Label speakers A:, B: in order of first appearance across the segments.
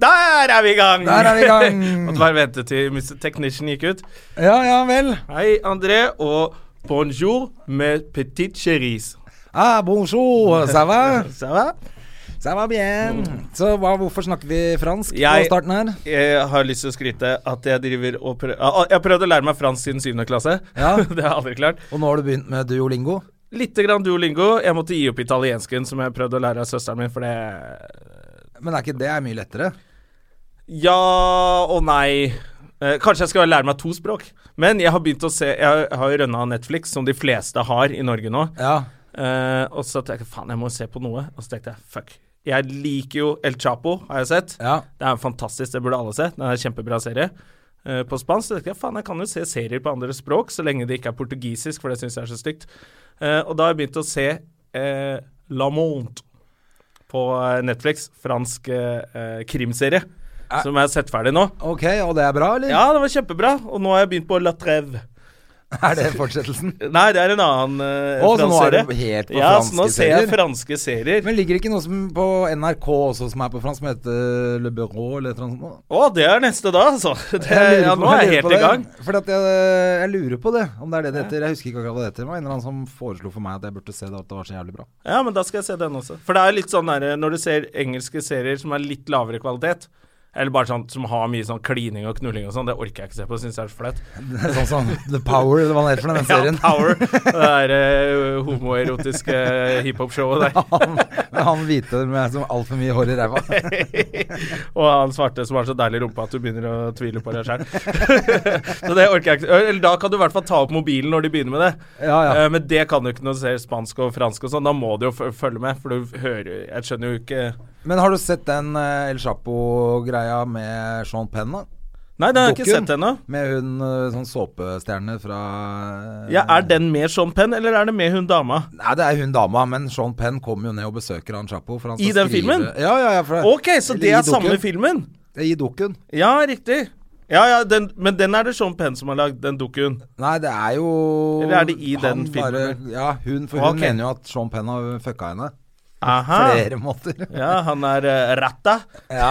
A: Der er vi i gang!
B: Der er vi i gang.
A: Måtte bare vente til Mr. Technician gikk ut.
B: Ja, ja vel.
A: Hei, André, og bonjour med petit cherise.
B: Ah, bonjour, ça va?
A: Ça va?
B: Ça va bien. Så hva, hvorfor snakker vi fransk
A: Jeg-
B: på starten her?
A: Jeg har lyst til å skryte at jeg driver og prøver Jeg har prøvd å lære meg fransk siden 7. klasse.
B: Ja.
A: det har jeg aldri klart.
B: Og nå har du begynt med duolingo?
A: Lite grann duolingo. Jeg måtte gi opp italiensken, som jeg prøvde å lære av søsteren min, for det
B: Men er ikke det er mye lettere?
A: Ja og nei. Eh, kanskje jeg skal lære meg to språk. Men jeg har begynt å se Jeg har jo rønna Netflix, som de fleste har i Norge nå.
B: Ja.
A: Eh, og så tenkte jeg faen, jeg må se på noe. Og så tenkte jeg fuck. Jeg liker jo El Chapo, har jeg sett.
B: Ja.
A: Det er fantastisk, det burde alle se. Det er en kjempebra serie. Eh, på spansk så tenkte jeg faen, jeg kan jo se serier på andre språk, så lenge det ikke er portugisisk, for det syns jeg er så stygt. Eh, og da har jeg begynt å se eh, La Monde på eh, Netflix, fransk eh, eh, krimserie,
B: Eh.
A: som jeg har sett ferdig nå.
B: Ok, og det er bra, eller?
A: Ja, det var kjempebra, og nå har jeg begynt på La Treve.
B: Er det fortsettelsen?
A: Nei, det er en annen eh,
B: Å, så nå
A: fransk
B: er
A: serie.
B: du helt på
A: Ja, så nå
B: franske
A: ser jeg
B: serier?
A: franske serier.
B: Men ligger det ikke noe som på NRK også som er på fransk, som heter Le Bureau eller et eller annet sånt?
A: Å, det er neste da, altså. Det,
B: Jeg lurer
A: ja,
B: på-
A: nå er jeg
B: lurer på
A: helt i
B: det,
A: gang.
B: Fordi at jeg, jeg lurer på det, om det er det det heter. Jeg husker ikke akkurat hva det heter. Det var en eller annen som foreslo for meg at jeg burde se det, at det var så jævlig bra.
A: Ja, men da skal jeg se den også. For det er litt sånn der, når du ser engelske serier som er litt lavere kvalitet, eller bare sånn som har mye sånn klining og knulling og sånn, det orker jeg ikke se på, syns jeg er så flaut.
B: Sånn som The Power, eller hva det heter for den
A: Ja,
B: serien.
A: Power, det der eh, homoerotiske hiphop-showet der.
B: han, han hvite med som altfor mye hår i ræva.
A: Og han svarte som har så deilig rumpe at du begynner å tvile på deg sjøl. så det orker jeg ikke. Eller da kan du i hvert fall ta opp mobilen når de begynner med det.
B: Ja, ja.
A: Eh, Men det kan du ikke når du ser spansk og fransk og sånn. Da må du jo f- følge med, for du hører Jeg skjønner jo ikke
B: Men har du sett den eh, El Chapo-greia med Sean Penn, da?
A: Nei, den har jeg ikke
B: Dokken?
A: sett ennå.
B: Med hun eh, sånn såpestjerne fra eh,
A: Ja, er den med Sean Penn, eller er det med hun dama?
B: Nei, det er hun dama, men Sean Penn kommer jo ned og besøker han Chapo. For han skal
A: I den
B: skrive-
A: filmen?
B: Ja, ja, ja. For,
A: Ok, så
B: eller
A: det
B: i
A: er
B: dukken.
A: samme filmen?
B: I dukken.
A: Ja, riktig. Ja, ja, den, men den er det Sean Penn som har lagd, den dukken.
B: Nei, det er jo
A: Eller er det i
B: han
A: den filmen?
B: Bare, ja, hun, for
A: Ok.
B: hun mener jo at Sean Penn har fucka henne.
A: Aha.
B: Flere måter.
A: Ja, han er eh, ratta.
B: Ja.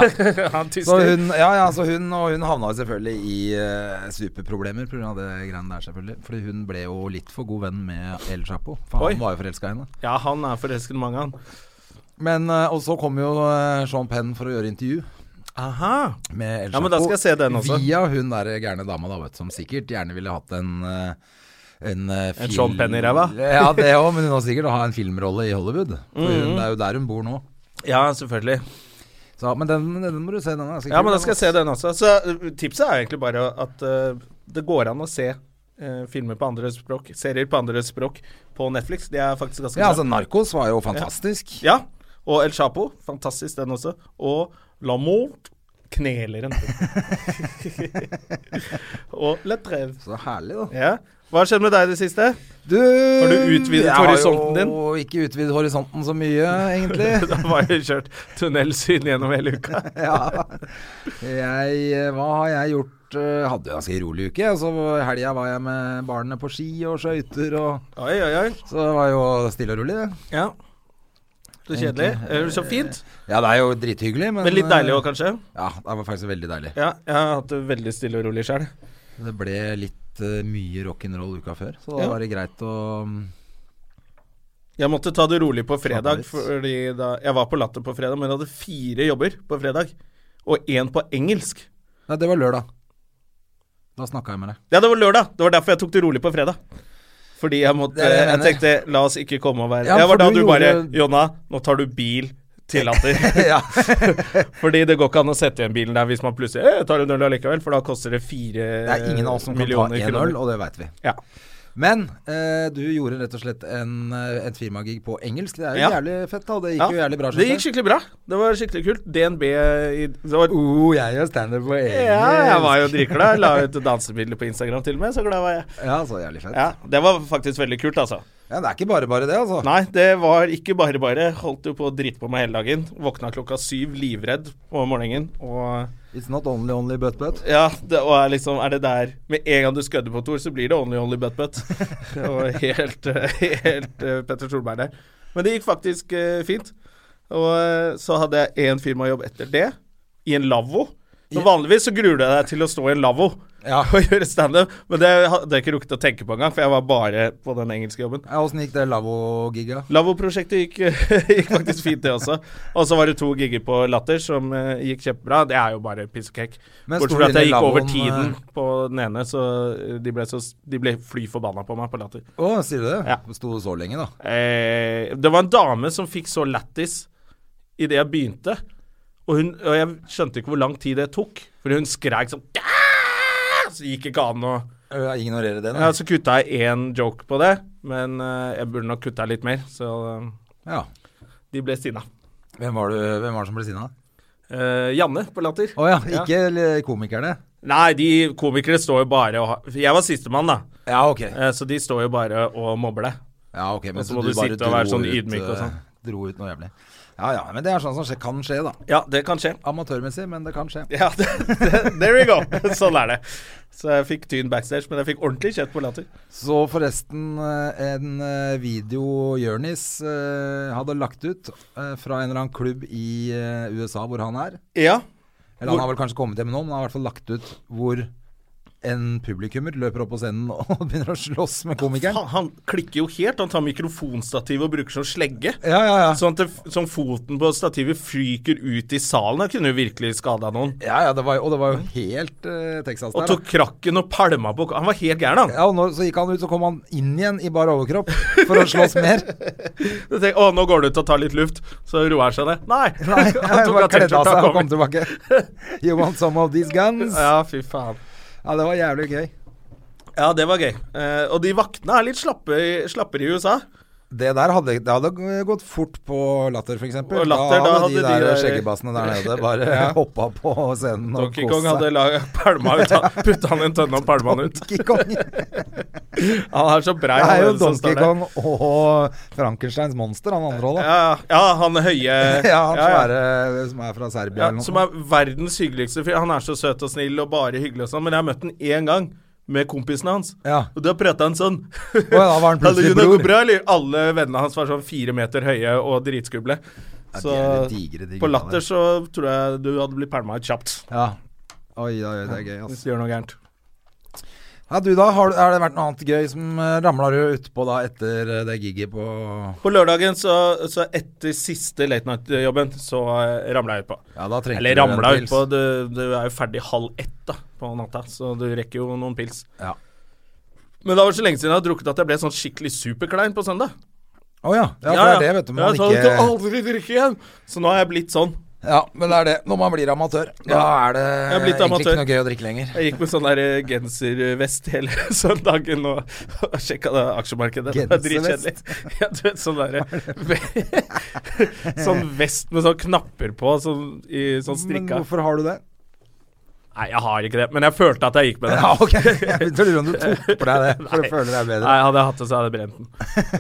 A: han
B: Så
A: tysker.
B: hun, ja, ja, så hun, og hun havna jo selvfølgelig i eh, superproblemer pga. det greiene der, selvfølgelig. Fordi hun ble jo litt for god venn med El Chapo. For
A: Oi.
B: han var jo forelska i henne.
A: Ja, han er forelsket i mange, han.
B: Men, eh, Og så kom jo eh, Sean Penn for å gjøre intervju
A: Aha.
B: med El Chapo.
A: Ja, men da skal jeg se den også.
B: Via hun der gærne dama, da, vet du, som sikkert gjerne ville hatt en eh, en, eh,
A: En
B: film-
A: Sean Penn i ræva?
B: Ja, det òg, men hun har sikkert ha en filmrolle i Hollywood. For
A: Mhm.
B: hun, det er jo der hun bor nå.
A: Ja, selvfølgelig.
B: Så, men den, den må du se, den. er ganske
A: Ja,
B: kul,
A: men da
B: den
A: skal jeg
B: også.
A: se den også. Så eh, tipset er egentlig bare at eh, det går an å se eh, filmer på andre språk, serier på andre språk på Netflix. Det er faktisk ganske
B: Ja,
A: bra.
B: altså Narkos var jo fantastisk.
A: Ja, og El Chapo, fantastisk den også. Og La Mort, kneleren. og La Treve.
B: Så herlig, da.
A: Ja. Hva har skjedd med deg i det siste?
B: Du,
A: Har du utvidet horisonten
B: Jeg har jo ikke utvidet horisonten så mye, egentlig.
A: da var jeg kjørt tunnelsyn gjennom hele uka.
B: ja. jeg, eh, hva har jeg gjort? Eh, Hadde jo en ganske rolig uke. Og så i helga var jeg med barnet på ski og skøyter. Og,
A: Oi, oi, oi.
B: så det var jo stille og rolig, det.
A: Ja. Så kjedelig. Eh, Så fint.
B: Ja, det er jo drithyggelig, men
A: Men litt deilig òg,
B: eh,
A: kanskje.
B: Ja, det var faktisk veldig deilig.
A: Ja, jeg har hatt det veldig stille og rolig sjøl.
B: Det ble litt eh, mye rock'n'roll uka før, så da
A: Ja.
B: var det greit å mm,
A: Jeg måtte ta det rolig på
B: Slappe
A: fredag,
B: litt.
A: fordi da Jeg var på Latter på fredag, men jeg hadde fire jobber på fredag. Og én på engelsk.
B: Nei, det var lørdag. Da snakka jeg med deg.
A: Ja, det var lørdag. Det var derfor jeg tok det rolig på fredag. Fordi jeg måtte
B: Det er det jeg
A: Jeg
B: mener.
A: tenkte, la oss ikke komme og være
B: Ja,
A: Det var
B: for
A: da du
B: du
A: bare
B: gjorde-
A: Jonna, nå tar du bil til Latter.
B: ja.
A: Fordi det går ikke an å sette igjen bilen der hvis man plutselig «Eh, jeg tar en øl allikevel, for da koster det fire
B: Det er ingen av oss som kan ta
A: millioner
B: én
A: kroner.
B: øl, og det veit vi.
A: Ja.
B: Men eh, du gjorde rett og slett en, eh, et firmagig på engelsk. Det er jo
A: Ja.
B: jævlig fett, da. Det gikk
A: Ja,
B: jo jævlig bra.
A: Det gikk skikkelig bra. Det var skikkelig kult. DNB i det var,
B: Oh, jeg gjør standup på engelsk.
A: Ja, jeg var jo dritglad. La ut dansebilder på Instagram til og med, så glad var jeg.
B: Ja, så jævlig fett. Ja.
A: Ja, Det var faktisk veldig kult, altså.
B: Det er ikke bare bare det, altså.
A: Nei, det var ikke bare bare. Holdt jo på å drite på meg hele dagen. Våkna klokka syv, livredd på morgenen. Og
B: It's not only only but but.
A: ja, det og er liksom Er det der Med en gang du skødder på Tor, så blir det only only butt butt. og helt, eh, helt eh, Petter Solberg der. Men det gikk faktisk eh, fint. Og eh, så hadde jeg én firmajobb etter det, i en lavvo. Men vanligvis så gruer du deg til å stå i en lavvo
B: Ja.
A: og gjøre standup, men det hadde jeg ikke rukket å tenke på engang, for jeg var bare på den engelske jobben.
B: Åssen gikk det lavvo-giga?
A: Lavvo-prosjektet gikk, gikk faktisk fint, det også. Og så var det to gigger på Latter som eh, gikk kjempebra. Det er jo bare piss og cake.
B: Men
A: Bortsett
B: sto
A: fra
B: du
A: at jeg
B: inne i
A: gikk over
B: lavvoen,
A: tiden på den ene, så eh, de ble, så, de ble fly forbanna på meg på Latter.
B: Å, sier du det?
A: Ja.
B: Sto så lenge, da.
A: Eh, det var en dame som fikk så lættis idet jeg begynte. Og, hun, og jeg skjønte ikke hvor lang tid det tok, for hun skreik sånn «Aah!» Så gikk ikke an å
B: Ø, Jeg ignorerer det,
A: ja,
B: da.
A: Så kutta jeg én joke på det, men eh, jeg burde nok kutta litt mer. Så eh,
B: Ja.
A: de ble sinna.
B: Hvem var, du, hvem var det som ble sinna?
A: Eh, Janne på Latter.
B: Å ja, ikke l- komikerne?
A: Nei, de komikere står jo bare og har Jeg var sistemann, da,
B: Ja, ok.
A: eh, så de står jo bare og mobber deg.
B: Ja, ok, men
A: Og så
B: så
A: må
B: du
A: du
B: bare
A: sitte og være
B: dro
A: sånn
B: ut,
A: ydmyk og
B: ø,
A: sånn.
B: Dro ut noe jævlig. Ja ja, men det er sånn som skje- kan skje, da.
A: Ja, det kan skje.
B: Amatørmessig, men det kan skje.
A: Ja, there we go. Sånn er det. Så jeg fikk tyn backstage, men jeg fikk ordentlig kjeft på latter.
B: Så forresten, eh, en eh, video Jørnis eh, hadde lagt ut eh, fra en eller annen klubb i eh, USA hvor han er.
A: Ja.
B: Eller han har vel kanskje kommet hjem nå, men han har i hvert fall lagt ut hvor en publikummer løper opp på scenen og begynner å slåss med komikeren.
A: Han, han klikker jo helt. Han tar mikrofonstativet og bruker som slegge.
B: Ja, ja, ja.
A: Sånn at det, sånn foten på stativet fyker ut i salen. Det kunne jo virkelig skada noen.
B: Ja, ja, det var, jo- og det var jo helt eh, Texas
A: Og
B: der.
A: tok
B: da.
A: krakken og palma på Han var helt gæren, han.
B: Ja, og når, så gikk han ut, så kom han inn igjen i bar overkropp for å slåss mer.
A: Du tenker, å, nå går det ut og tar litt luft. Så roer han seg ned. Nei.
B: Nei, han bare
A: av
B: kledde av
A: t-skjorta
B: seg
A: og
B: og kom tilbake. You want some of these guns?
A: Ja, fy faen.
B: Ja, det var jævlig gøy.
A: Ja, det var gøy. Eh, og de vaktene er litt slappe, i- slappere i USA.
B: Det der hadde, det hadde gått fort på Latter, f.eks.
A: Og Latter,
B: da
A: da
B: hadde de
A: hadde
B: der,
A: de der-
B: skjeggebassene der nede bare hoppa på scenen og
A: Donkey Kong hadde laga palma ut. han- Putta han i en tønne og palma han ut.
B: Donkey Kong.
A: Han er så brei.
B: Det er jo
A: han som står
B: Donkey
A: der.
B: Kong og Frankensteins monster, han andre òg, da.
A: Ja, ja, han høye
B: Ja, han
A: ja, ja.
B: svære som er fra Serbia
A: Ja,
B: eller noe.
A: Som er verdens hyggeligste fyr. Han er så søt og snill og bare hyggelig og sånn, men jeg har møtt han én gang med kompisen hans.
B: Ja.
A: Og da prata han sånn.
B: Å, ja, da var han
A: Alle,
B: plutselig
A: Jonas
B: bror.
A: Gobra, eller alle vennene hans var sånn fire meter høye og dritskumle.
B: Ja,
A: Så
B: de er litt digre, de
A: på
B: gutta der.
A: latter så tror jeg du hadde blitt pælma ut kjapt
B: Ja. Oi, oi, oi, det er gøy,
A: hvis
B: altså.
A: du gjør noe gærent.
B: Ja, du da, har, du- har det vært noe annet gøy som eh, ramla du utpå da etter eh, det giget på
A: På lørdagen, så, så etter siste late night-jobben, så eh, ramla jeg utpå.
B: Ja, da trengte
A: Eller
B: du en
A: ramla
B: pils.
A: utpå. Du, du er jo ferdig halv ett da på natta, så du rekker jo noen pils.
B: Ja.
A: Men det var så lenge siden jeg hadde drukket at jeg ble sånn skikkelig superklein på søndag.
B: Å ja. ja, for det er det, vet du. Man
A: Ja, så jeg skal
B: ikke
A: aldri drikke igjen. Så nå har jeg blitt sånn.
B: Ja, men det er det. Når man blir amatør, da er det
A: Jeg er blitt
B: egentlig
A: amatør.
B: ikke noe gøy å drikke lenger.
A: Jeg gikk med sånn der eh, genservest hele søndagen og, og sjekka det aksjemarkedet. Det var
B: Genservest?
A: dritkjedelig. Ja, du vet sånn derre Sånn vest med sånn knapper på, sånn, i, sånn
B: Men
A: strikka.
B: hvorfor har du det?
A: Nei, jeg har ikke det, men jeg følte at jeg gikk med det.
B: Ja, ok. Jeg begynte å lure om du tok på deg det, for du
A: Nei.
B: føler deg bedre.
A: Nei, hadde jeg hatt det, så hadde jeg brent den.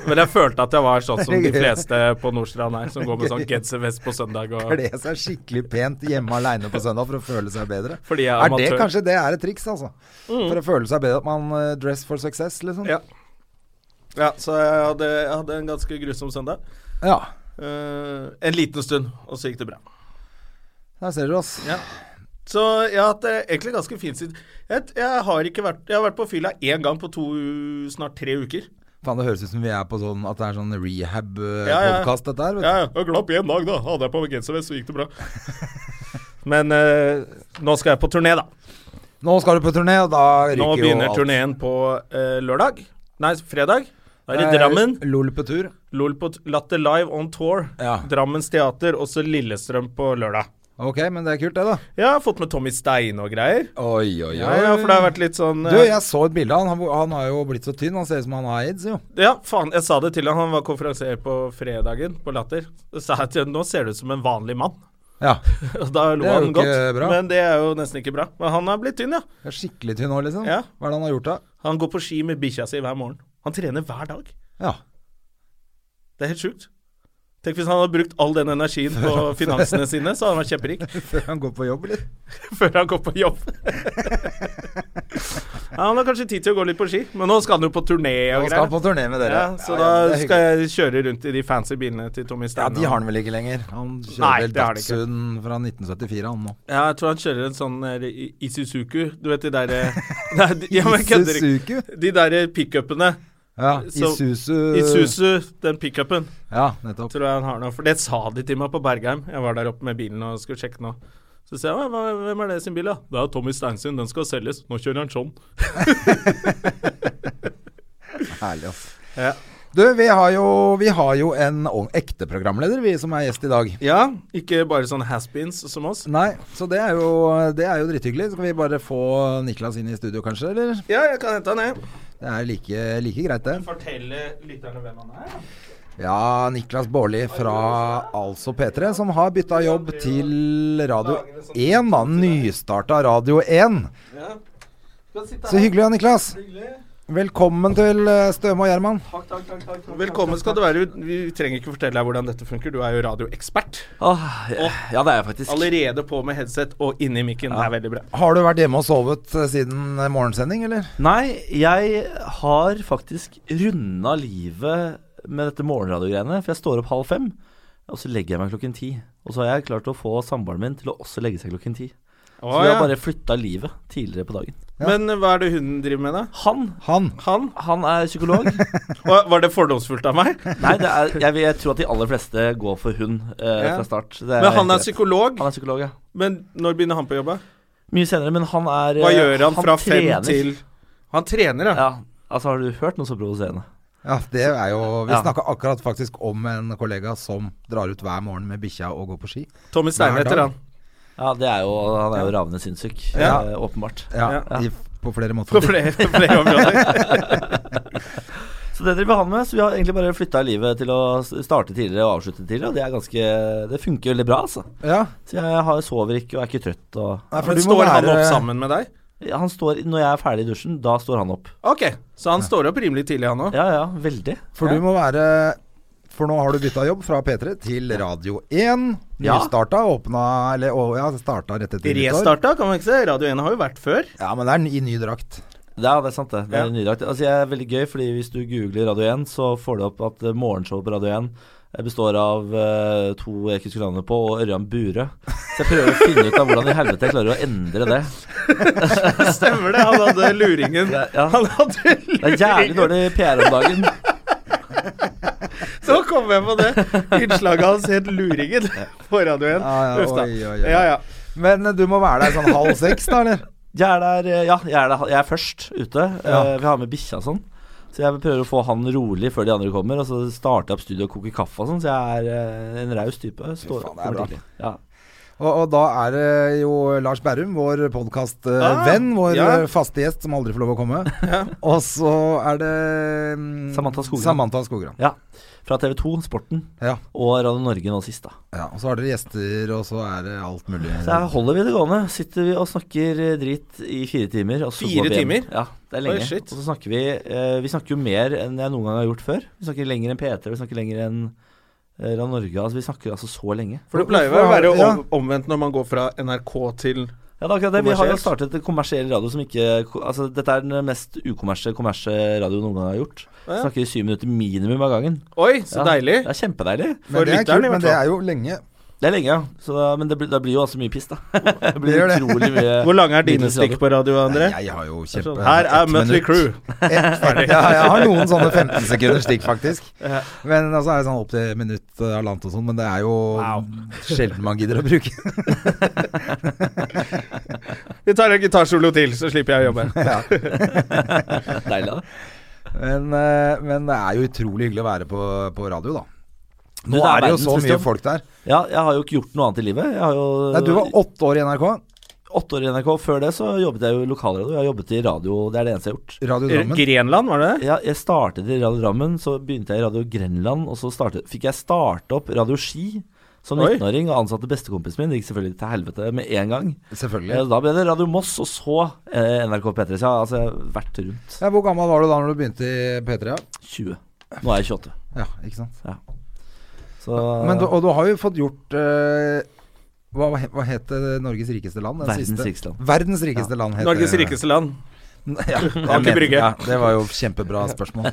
A: Men jeg følte at jeg var sånn som de
B: Gøy.
A: fleste på Nordstrand er, som går med sånn genservest på søndag. Og,
B: Kle seg skikkelig pent hjemme aleine på søndag for å føle seg bedre.
A: fordi jeg er
B: Er det
A: amatør. Mm.
B: kanskje det er et triks, altså? For å føle seg bedre at man eh, dress for success, liksom?
A: Ja. ja, så jeg hadde, jeg hadde en ganske grusom søndag.
B: Ja.
A: Eh, en liten stund, og så gikk det bra.
B: Der ser dere oss.
A: Så jeg har hatt det egentlig ganske fint siden jeg, jeg har ikke vært Jeg har vært på fylla én gang på to, snart tre uker.
B: Faen, det høres ut som vi er på sånn at det er sånn
A: Ja, ja.
B: rehab-podkast, dette her. Vet du.
A: Ja, ja. Glapp én dag, da. Hadde jeg på genservest, så gikk det bra. Men eh, nå skal jeg på turné, da.
B: Nå skal du på turné, og da ryker
A: Nå
B: jo
A: begynner
B: alt.
A: turneen på eh, lørdag. Nei, fredag. Da er det
B: Nei,
A: Drammen.
B: LOL på tur.
A: LOL på t- Latter Live on Tour.
B: Ja.
A: Drammens Teater, og så Lillestrøm på lørdag.
B: Ok, men det er kult, det, da.
A: Jeg har fått med Tommy Steine og greier.
B: Oi, oi, oi.
A: Ja, ja, for det har vært litt sånn
B: Du,
A: eh,
B: jeg så et bilde av han. han. Han har jo blitt så tynn. Han ser ut som han har aids, jo.
A: Ja, faen, jeg sa det til han. Han var konferansier på fredagen på Latter. Så sa jeg til han, nå ser du ut som en vanlig mann.
B: Ja.
A: Og da lo
B: Det er jo
A: han godt.
B: ikke bra.
A: Men det er jo nesten ikke bra. Men han har blitt tynn, ja.
B: Jeg er skikkelig tynn nå, liksom.
A: Ja.
B: Hva er det han har gjort, da?
A: Han går på ski med bikkja si hver morgen. Han trener hver dag.
B: Ja.
A: Det er helt sjukt. Tenk hvis han hadde brukt all den energien på finansene sine, så hadde han vært kjemperik
B: Før han går på jobb, eller?
A: før han går på jobb. Ja, han har kanskje tid til å gå litt på ski, men nå skal han jo på turné og
B: Han skal
A: greier.
B: på turné med dere.
A: Ja, så
B: Ja, ja,
A: da
B: det er
A: skal jeg kjøre rundt i de fancy bilene til Tommy
B: Ja,
A: Steine.
B: de har han vel ikke lenger. Han kjører
A: Nei,
B: vel
A: det har de ikke.
B: Datsun fra 1974, han nå.
A: Ja, jeg tror han kjører en sånn eh, i- Isuzuku, du vet de der eh, Nei, de- ja, men jeg kødder ikke.
B: Isuzu. Eh.
A: De der eh, pickupene.
B: Ja,
A: Så-
B: Isuzu.
A: Isuzu, den pickupen,
B: Ja, nettopp.
A: tror jeg han har nå. For det sa de til meg på Bergheim. Jeg var der oppe med bilen og skulle sjekke nå. Så sier jeg «Hva- hva- hvem er det sin bil, da? Det er Tommy Stein sin, den skal selges. Nå kjører han sånn.
B: Herlig, ass.
A: Ja.
B: Du, vi har jo, vi har jo en ov- ekte programleder, vi som er gjest i dag.
A: ja, ikke bare sånne has-beens som oss.
B: Nei, så det er jo, det er jo dritthyggelig. Skal vi bare få Niklas inn i studio, kanskje? Eller?
A: Ja, jeg kan hente han ned.
B: Det er like, like greit, det.
A: Fortelle lytterne hvem han er.
B: Ja, Niklas Baarli fra altså P3, som har bytta jobb til Radio 1. Da, nystarta Radio 1.
A: Ja.
B: Så hyggelig, ja, Niklas. Velkommen til eh, Støme og Gjerman.
A: Velkommen skal du være. Vi trenger ikke fortelle deg hvordan dette funker, du er jo radioekspert.
C: Åh, ja, ja, det er jeg faktisk.
A: Allerede på med headset og inni mikken. Det er veldig bra.
B: Har du vært hjemme og sovet eh, siden eh, morgensending, eller?
C: Nei, jeg har faktisk runda livet med dette morgenradiogreiene. For jeg står opp halv fem, og så legger jeg meg klokken ti. Og så har jeg klart å få samboeren min til å også legge seg klokken ti. Så
A: Å,
C: vi
A: ja.
C: har bare flytta livet tidligere på dagen.
B: Ja.
A: Men eh, hva er det hunden driver med, da?
C: Han
B: Han.
A: Han?
C: han er psykolog.
A: Og var det fordomsfullt av meg?
C: Nei, det er, jeg, vil- jeg tror at de aller fleste går for hund eh,
A: Ja.
C: fra start. Det
A: Men han er
C: helt greit.
A: psykolog.
C: han er psykolog, ja.
A: Men når begynner han på jobb? da?
C: Mye senere, men han er
A: Hva
C: eh,
A: gjør han fra fem
C: trener.
A: til Han trener, ja.
C: Ja, altså Har du hørt noe så provoserende?
B: Ja, det er jo Vi
C: Ja.
B: snakka akkurat faktisk om en kollega som drar ut hver morgen med bikkja og går på ski.
A: Tommy Steine
B: Hver dag.
A: heter han.
C: Ja, det er jo, Han er jo ravende sinnssyk,
A: Ja.
C: eh, åpenbart.
B: Ja,
C: Ja.
B: I, på flere
A: På
B: måter.
A: flere, på flere områder.
C: Så det driver han med, så vi har egentlig bare flytta livet til å s- starte tidligere og avslutte tidligere, og det er ganske Det funker veldig bra, altså.
B: Ja.
C: Så jeg har, sover ikke og er ikke trøtt og
B: Nei, for
A: Men
B: du må
A: står han
B: være-
A: opp sammen med deg?
C: ja, Han står Når jeg er ferdig i dusjen, da står han opp.
A: Ok, så han står opp rimelig tidlig, han òg.
C: Ja ja, veldig.
B: For du må være For nå har du bytta jobb fra P3 til Radio 1.
C: Ja.
B: Nystarta, åpna Eller å, ja, starta rett etter nyttår.
A: Restarta, kan man ikke se. Radio 1 har jo vært før.
B: Ja, men det er i ny drakt.
C: Ja, det er sant, det. Det er
A: Ja.
C: nydelig. Altså, jeg er veldig gøy, fordi hvis du googler Radio 1, så får du opp at eh, morgenshowet på Radio 1 består av eh, to jeg ikke skulle navnet på, og Ørjan Burøe. Så jeg prøver å finne ut av hvordan i helvete jeg klarer å endre det.
A: Stemmer det, han hadde luringen.
C: Ja, ja.
A: Han hadde
C: Det er
A: luringen.
C: jævlig dårlig PR om dagen.
A: Så kom jeg på det. Innslaget hans het Luringen på radioen.
B: Ja, ja,
A: Uff da.
B: oi, oi, oi.
A: Ja, ja.
B: Men eh, du må være der sånn halv seks, da, eller?
C: Jeg er der, eh, ja, jeg er, der, jeg er først ute.
B: Ja.
C: Eh, Vi har med bikkja og sånn. Så jeg prøver å få han rolig før de andre kommer, og så starter jeg opp studio og koker kaffe og sånn. Så jeg er eh, en raus type. Står
B: faen,
C: opp
B: det er
C: kommer
B: bra.
C: tidlig. Ja.
B: Og, og da er det jo Lars Berrum, vår
A: Ah,
B: podkastvenn, vår
A: ja.
B: eh, faste gjest som aldri får lov å komme. Og så er det mm,
C: Samantha Skogran.
B: Samantha Skogran.
C: ja. Fra TV 2, Sporten
B: Ja.
C: og Radio Norge nå sist, da.
B: ja. Og så har dere gjester, og så er det alt mulig.
C: Så her holder vi det gående. Sitter vi og snakker eh, drit i fire timer. Og så
A: Fire
C: går vi hjem.
A: timer?
C: Ja, det er
A: Oi,
C: lenge.
A: shit.
C: og så snakker vi eh, Vi snakker jo mer enn jeg noen gang har gjort før. Vi snakker lenger enn P3, vi snakker lenger enn eh, Radio Norge. Altså, vi snakker altså så lenge.
A: For det pleier jo å
B: Hvorfor
A: være
B: har- ja.
A: om- omvendt når man går fra NRK til
C: Ja, det er akkurat det. Vi har jo
A: Kommersielt.
C: startet en kommersiell radio som ikke ko- Altså, dette er den mest ukommersielle kommersielle radioen noen gang har gjort.
A: Å, ja.
C: Snakker i syv minutter minimum av gangen.
A: Oi, så
C: Ja.
A: deilig.
C: Det er kjempedeilig.
A: For
B: Men det er
A: lytteren, i
B: kult,
A: hvert
B: men det
A: fall.
B: er jo lenge.
C: Det er lenge, ja. Så, da- men det blir, da blir jo altså mye piss, da. det blir
B: gjør det.
C: utrolig mye
A: Hvor lange er dine
C: Middelstradio.
A: stikk på radio, André?
B: Nei, jeg har jo kjempe...
A: Her er sånn,
B: ett
A: Mutley
B: minutt.
A: Crew.
B: Ett, ja, jeg har noen sånne 15 sekunders stikk, faktisk. Men altså er det sånn opp til minutt eh, halvannet og sånn, men det er jo sjelden man gidder å bruke.
A: Vi tar en gitarsolo til, så slipper jeg å jobbe.
B: ja.
C: Deilig, da.
B: men, eh, men det er jo utrolig hyggelig å være på, på radio, da.
C: Du,
B: Nå
C: det er
B: er det jo
C: verdens
B: så
C: beste
B: mye
C: jobb.
B: folk der.
C: Ja, jeg har jo ikke gjort noe annet i livet. Jeg har jo
B: Nei, du var åtte år i NRK.
C: åtte år i NRK. Før det så jobbet jeg jo i lokalradio. Jeg har jobbet i radio, det er det eneste jeg har gjort.
B: Radio Drammen.
A: Grenland, var det det?
C: Ja, jeg startet i Radio Drammen, så begynte jeg i Radio Grenland, og så startet, fikk jeg starte opp Radio Ski som
A: Oi.
C: 19-åring, og ansatte bestekompisen min. Det gikk selvfølgelig til helvete med en gang. Eh,
B: Selvfølgelig.
C: Da ble det Radio Moss, og så eh, NRK P3. Så jeg har altså vært rundt
B: Ja, hvor gammel var du da når du begynte i P3? Ja,
C: 20. Nå er jeg 28.
B: ja ikke sant.
C: Så
B: Men du, og du har jo fått gjort eh, hva, hva het det Norges rikeste land? den
C: Verdens
B: siste?
C: rikeste land.
B: Verdens rikeste land heter
A: Norges rikeste land.
B: Ja,
A: Aker
B: jeg mener-
A: Brygge.
B: Ja, det var jo kjempebra spørsmål.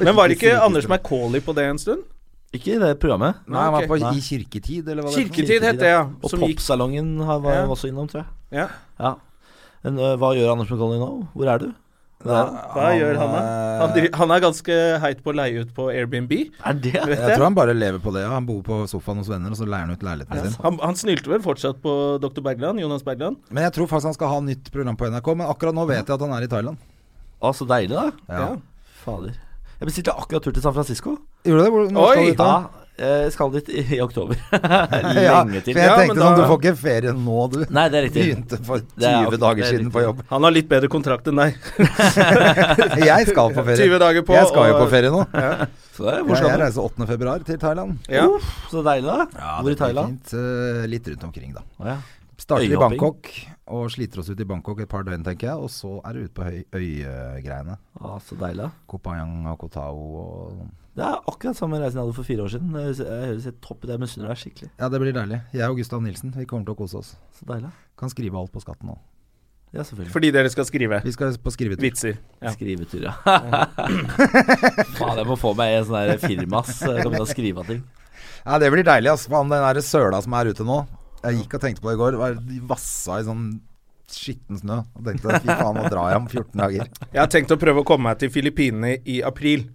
A: Men var det ikke Anders Macauley på det en stund?
C: Ikke i det programmet.
B: Nei, han var
A: ok.
B: på
C: Nei.
B: I kirketid, eller hva det heter.
A: Kirketid het det, ja.
C: Og
A: Som gikk
C: Popsalongen har- var
A: Ja.
C: også innom, tror jeg.
A: ja.
C: Ja. Men øh, hva gjør Anders McColley nå? Hvor er du? Der er han.
A: Hva gjør han, da? Han,
B: eh,
A: dri- han er ganske heit på å leie ut på Airbnb.
C: Er det?
A: Vet
B: Jeg
A: jeg.
B: tror han bare lever på det. Ja. Han bor på sofaen hos venner, og så leier han ut leiligheten sin.
A: Han, han snylte vel fortsatt på Dr. Bergland, Jonas Bergland.
B: Men jeg tror faktisk han skal ha nytt program på NRK, men akkurat nå vet jeg at han er i Thailand.
C: Å, så deilig, da.
B: Ja.
C: Fader. Jeg bestilte akkurat tur til San Francisco.
B: Gjorde du det? Hvor, når
A: Oi!
B: skal du ut da?
C: Ja, jeg eh, skal dit i i oktober.
B: Ja,
C: Lenge
B: for
C: til.
B: jeg
A: Ja,
B: tenkte
A: men
B: sånn,
A: da-
B: du får ikke ferie nå, du.
C: Nei, det er riktig.
B: Begynte for
C: Det er
B: 20
C: ok,
B: dager
C: det er
B: siden
C: riktig.
B: på jobb.
A: Han har litt bedre kontrakt enn deg.
B: Jeg skal på ferie.
A: 20 dager på.
B: Jeg skal jo
A: og-
B: på ferie nå.
C: Så, det er-
B: Ja,
C: hvor
B: jeg
C: skal du?
B: reiser 8. februar til Thailand.
A: Ja.
C: Uff, så deilig, da. Hvor i
B: det blir
C: Thailand?
B: Fint, eh, litt rundt omkring, da.
C: Å, ja.
B: Starter i
C: Øyhopping.
B: Bangkok og sliter oss ut i Bangkok et par døgn, tenker jeg. Og så er det ut på høy- øyegreiene.
C: Å, så deilig, da.
B: Kopayang og Kotao og
C: Det er akkurat samme reisen jeg hadde for fire år siden. Jeg jeg høres helt topp ut. Jeg misunner deg skikkelig.
B: Ja, det blir deilig. Jeg og Gustav Nilsen, vi kommer til å kose oss.
C: Så deilig.
B: Kan skrive alt på skatten nå.
C: Ja, selvfølgelig.
A: Fordi dere skal skrive
B: Vi skal på skrivetur.
A: vitser. Ja.
C: Skrivetur, ja. Faen, jeg må få meg en sånn her firma, ass. Jeg kan begynne å skrive av ting.
B: Ja, det blir deilig, ass. Faen, den der søla som er ute nå. Jeg gikk og tenkte på det i går. Var de vassa i sånn skitten snø. Og tenkte fy faen, nå drar jeg om 14 dager.
A: Jeg har tenkt å prøve å komme meg til Filippinene i april,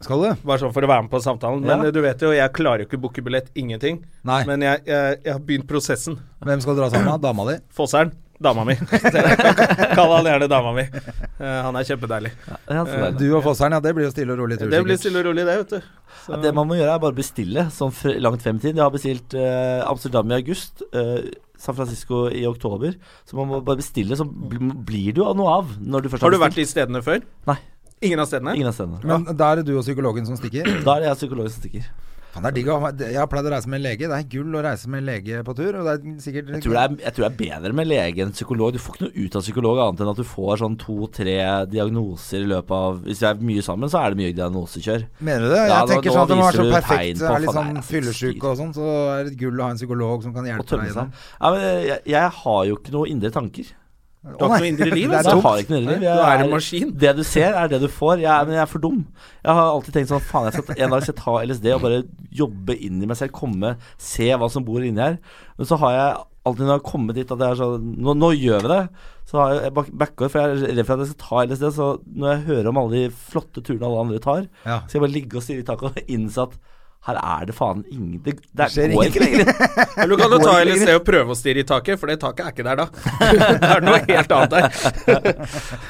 B: Skal du?
A: bare sånn for å være med på samtalen. Men
C: Ja.
A: eh, du vet jo, jeg klarer jo ikke booke billett, ingenting.
B: Nei.
A: Men jeg, jeg, jeg har begynt prosessen.
B: Hvem skal du dra sammen med? Dama di?
A: Fosseren, dama mi. Kall han gjerne dama mi. Eh, han er kjempedeilig.
C: Ja, så deilig.
B: Du og Fosseren, ja. Det blir jo stille og rolig tur.
A: Det blir
B: sikkert.
A: stille og rolig, det, vet du. Så-
C: Ja, Det man må gjøre, er bare bestille sånn fr- langt frem i tid. Jeg har bestilt eh, Amsterdam i august, eh, San Francisco i oktober. Så man må bare bestille, så bl blir du av noe av når du først
A: Har
C: har
A: du vært
C: bestilt.
A: i stedene før?
C: Nei.
A: Ingen av stedene?
C: Ingen av stedene.
B: Men da er det du og psykologen som stikker.
C: Da er det jeg psykologen som stikker.
B: Faen, det er digg å ha- Jeg har pleid å reise med en lege. Det er gull å reise med en lege på tur. Og det er sikkert
C: Jeg tror, det er, jeg tror det er bedre med lege enn psykolog. Du får ikke noe ut av psykolog annet enn at du får sånn to-tre diagnoser i løpet av Hvis vi er mye sammen, så er det mye diagnosekjør.
B: Mener du det?
C: Ja,
B: jeg
C: nå-
B: tenker
C: nå
B: sånn at det må være så
C: viser du tegn
B: perfekt.
C: på
B: Er litt
C: faen, nei,
B: sånn
C: jeg synes
B: fyllesyke og sånn, så er det gull å ha en psykolog som kan
C: Og
B: hjelpe deg
C: tømme
B: i det.
C: seg. Ja, men eh, jeg, jeg har jo ikke noe indre tanker.
A: Du har ikke noe indre liv?
B: Det er
A: altså.
C: jeg
B: tomt.
C: har ikke noe indre liv.
A: Du
C: Jeg
A: er en maskin.
C: Det du ser, er det du får. Jeg er, men jeg er for dum. Jeg har alltid tenkt sånn Faen, jeg skal en dag skal jeg ta LSD og bare jobbe inn i meg selv. Komme, se hva som bor inni her. Men så har jeg alltid når jeg har kommet dit at jeg er sånn Nå, nå gjør vi det. Så har jeg- jeg bak- backer, for jeg er redd for at jeg skal ta LSD. Så når jeg hører om alle de flotte turene alle andre tar,
B: Ja.
C: skal jeg bare ligge og stirre i taket og innse at her er det faen ingen Det, det,
B: skjer
C: går ikke lenger.
A: Eller kan du
C: går
A: ta
C: ikke
A: LSD og prøve å stirre i taket, for det taket er ikke der da. det er noe helt annet der.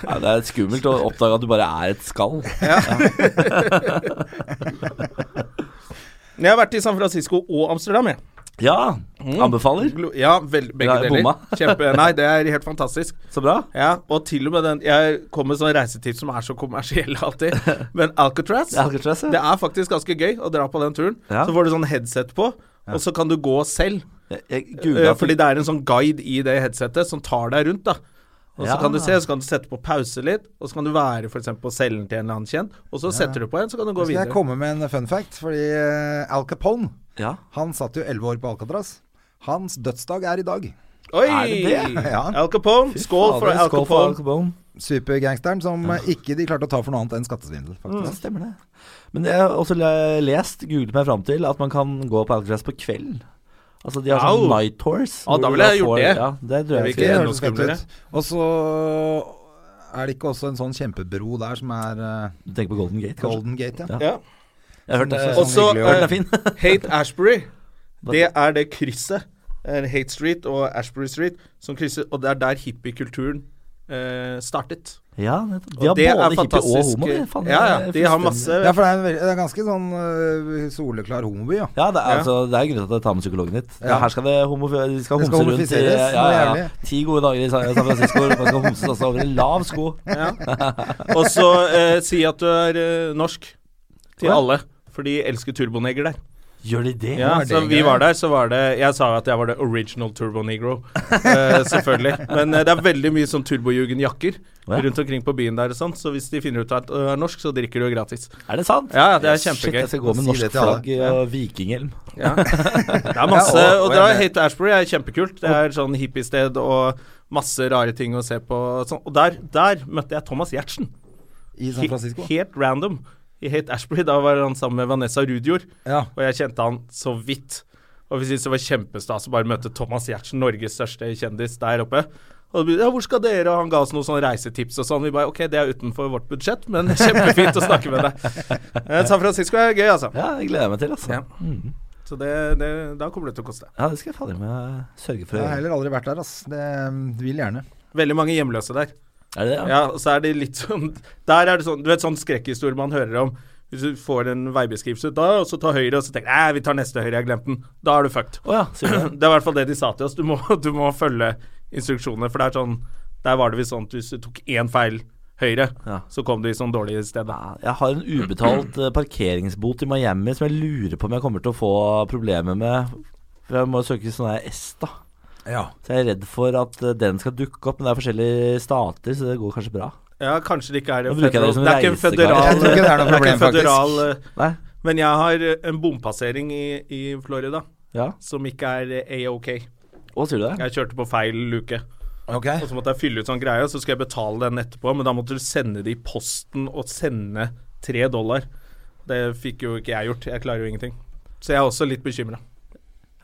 C: Ja, det er skummelt å oppdage at du bare er et skall.
A: Men Jeg har vært i San Francisco og Amsterdam, jeg.
C: Ja.
A: Mm.
C: Anbefaler.
A: Glo- Ja, vel, begge
C: Hm? Ja, jeg
A: deler.
C: bomma.
A: Kjempe, nei, det er helt fantastisk.
C: Så bra.
A: Ja, og til og med den Jeg kom med sånne reisetips som er så kommersielle alltid, men Alcatraz
C: Alcatraz,
A: Det
C: ja.
A: er faktisk ganske gøy å dra på den turen.
C: Ja.
A: Så får du sånn headset på, og så kan du gå selv.
C: Jeg, jeg
A: Eh,
C: googlet
A: Fordi det er en sånn guide i det headsetet som tar deg rundt, da. Og så
C: Ja.
A: kan du se, så kan du sette på pause litt, og så kan du være f.eks. på cellen til en eller annen kjent, og så setter du på en, så kan du gå
B: Skal jeg
A: videre.
B: komme med en fun fact? Fordi eh, Al Capone,
C: Ja.
B: han satt jo 11 år på Alcatraz. Hans dødsdag er i dag.
A: Oi!
C: Er det
B: Ja.
A: Al Capone. Skål for Al Capone.
C: Capone.
B: Supergangsteren som eh, ikke de klarte å ta for noe annet enn skattesvindel,
A: Mm.
C: Ja,
B: faktisk.
C: stemmer det. Men jeg har også le- lest, googlet meg fram til, at man kan gå på Alcatraz på kvelden. Altså de har sånn
A: Au.
C: night tours.
A: Ja, da
C: hvor
A: ville
C: du
A: jeg gjort
C: får-
A: det.
C: Ja, det
A: Det
C: tror jeg skal
A: vil
B: Det
A: ikke-
C: gjøre.
A: er noe
B: høres fett
A: skumlere.
B: ut. Og så er det ikke også en sånn kjempebro der som er eh,
C: Du tenker på Golden Gate, kanskje?
B: Golden Gate, ja.
C: Ja.
A: Ja.
C: Jeg har hørt det.
B: Som
A: Og så
B: også er sånn hyggelig å-
C: den
A: eh,
C: er fin.
A: Hate Ashbury. Det er det krysset. eh, Hate Street og Ashbury Street som krysser, og det er der hippiekulturen eh, startet.
C: Ja, nettopp.
A: Og
C: de har
A: det
C: både
A: er
C: hippie og
A: fantastisk.
C: homo. det. Faen,
A: ja,
C: det
A: ja,
C: er
A: de har
C: fullstendig-
A: masse
B: Ja, for det er en veldig, det er ganske sånn eh, soleklar homoby, ja.
C: Ja, det er,
A: Ja.
C: altså, det er grunnen til at jeg tar med psykologen hit.
B: Ja.
C: Her skal det homof de skal
B: Det
C: homse
B: skal
C: rundt i
B: homofiseres,
C: ja,
B: noe
C: ja, ja.
B: jævlig.
C: ti gode dager i San San Francisco. Man skal homses altså over en lav sko.
A: Ja. Og så eh, si at du er eh, norsk til
C: Ja.
A: alle, for de elsker turboneger der.
C: Gjør de det?
A: Ja,
B: var
A: så
B: det
A: vi
B: gøy.
A: var der, så var det Jeg sa at jeg var the original Turbo Negro. eh, selvfølgelig. Men eh, det er veldig mye sånn turbojugendjakker
C: Å, ja.
A: rundt omkring på byen der og sånt, så hvis de finner ut at du er norsk, så drikker du jo gratis.
C: Er det sant?
A: Ja, ja, det er
C: Shit,
A: kjempegøy.
C: jeg skal gå med
B: Si
C: norsk
B: det til alle.
C: flagg og vikinghjelm.
A: Ja. Det er masse
B: Ja, og-
A: Og
B: og
A: dra
B: jeg ble-
A: hit til Ashbury er kjempekult. Det er sånn hippiested og masse rare ting å se på. og Sånn. Og der, der møtte jeg Thomas Giertsen.
B: I San Francisco.
A: Helt random. I Hate Ashbury. Da var han sammen med Vanessa Rudjord.
B: Ja.
A: Og jeg kjente han så vidt. Og vi syntes det var kjempestas å bare møte Thomas Giertsen, Norges største kjendis, der oppe. Og vi, ja, hvor skal dere? Og han ga oss noen sånne reisetips og sånn. Vi bare OK, det er utenfor vårt budsjett, men kjempefint å snakke med deg. Eh, San Francisco er gøy, altså.
C: Ja, jeg gleder meg til, altså.
A: Ja.
C: Ja, mm.
A: Så det, det, da kommer det til å koste.
C: ja det skal jeg fader meg sørge for.
B: Jeg har
C: å gjøre.
B: heller aldri vært der, ass. Det mm, vil gjerne.
A: Veldig mange hjemløse der.
C: Er det det? Ja.
A: Ja, og så er de litt sånn Der er det sånn Du vet sånn skrekkhistorie man hører om. Hvis du får en veibeskrivelse da, og så tar høyre, og så tenker du Nei, vi tar neste høyre, jeg har glemt den. Da er du fucked.
C: Å ja, sier du det?
A: Det er i hvert fall det de sa til oss. Du må, du må følge instruksjonene, for det er sånn Der var det visst sånn at hvis du tok én feil høyre,
C: Ja.
A: så kom du i sånn dårlig sted. da.
C: Ja, Jeg har en ubetalt eh, parkeringsbot i Miami som jeg lurer på om jeg kommer til å få problemer med. For jeg må søke sånn her S, da.
B: Ja.
C: Så jeg er redd for at eh, den skal dukke opp, men det er forskjellige stater, så det går kanskje bra.
A: Ja, kanskje det ikke er en
C: Nå bruker jeg
A: federal
C: det som
A: Det er ikke en
C: reiseguide.
A: føderal
B: Jeg tror ikke det er noe
A: ikke en
B: problem, faktisk.
A: føderal, eh,
C: Nei?
A: Men jeg har eh, en bompassering i, i Florida
C: Ja?
A: som ikke er eh, A-OK.
C: Å, sier du det?
A: Jeg kjørte på feil luke.
B: Ok.
A: Og så måtte jeg fylle ut sånn greie, og så skal jeg betale den etterpå. Men da måtte du sende det i posten og sende tre dollar. Det fikk jo ikke jeg gjort. Jeg klarer jo ingenting. Så jeg er også litt bekymra.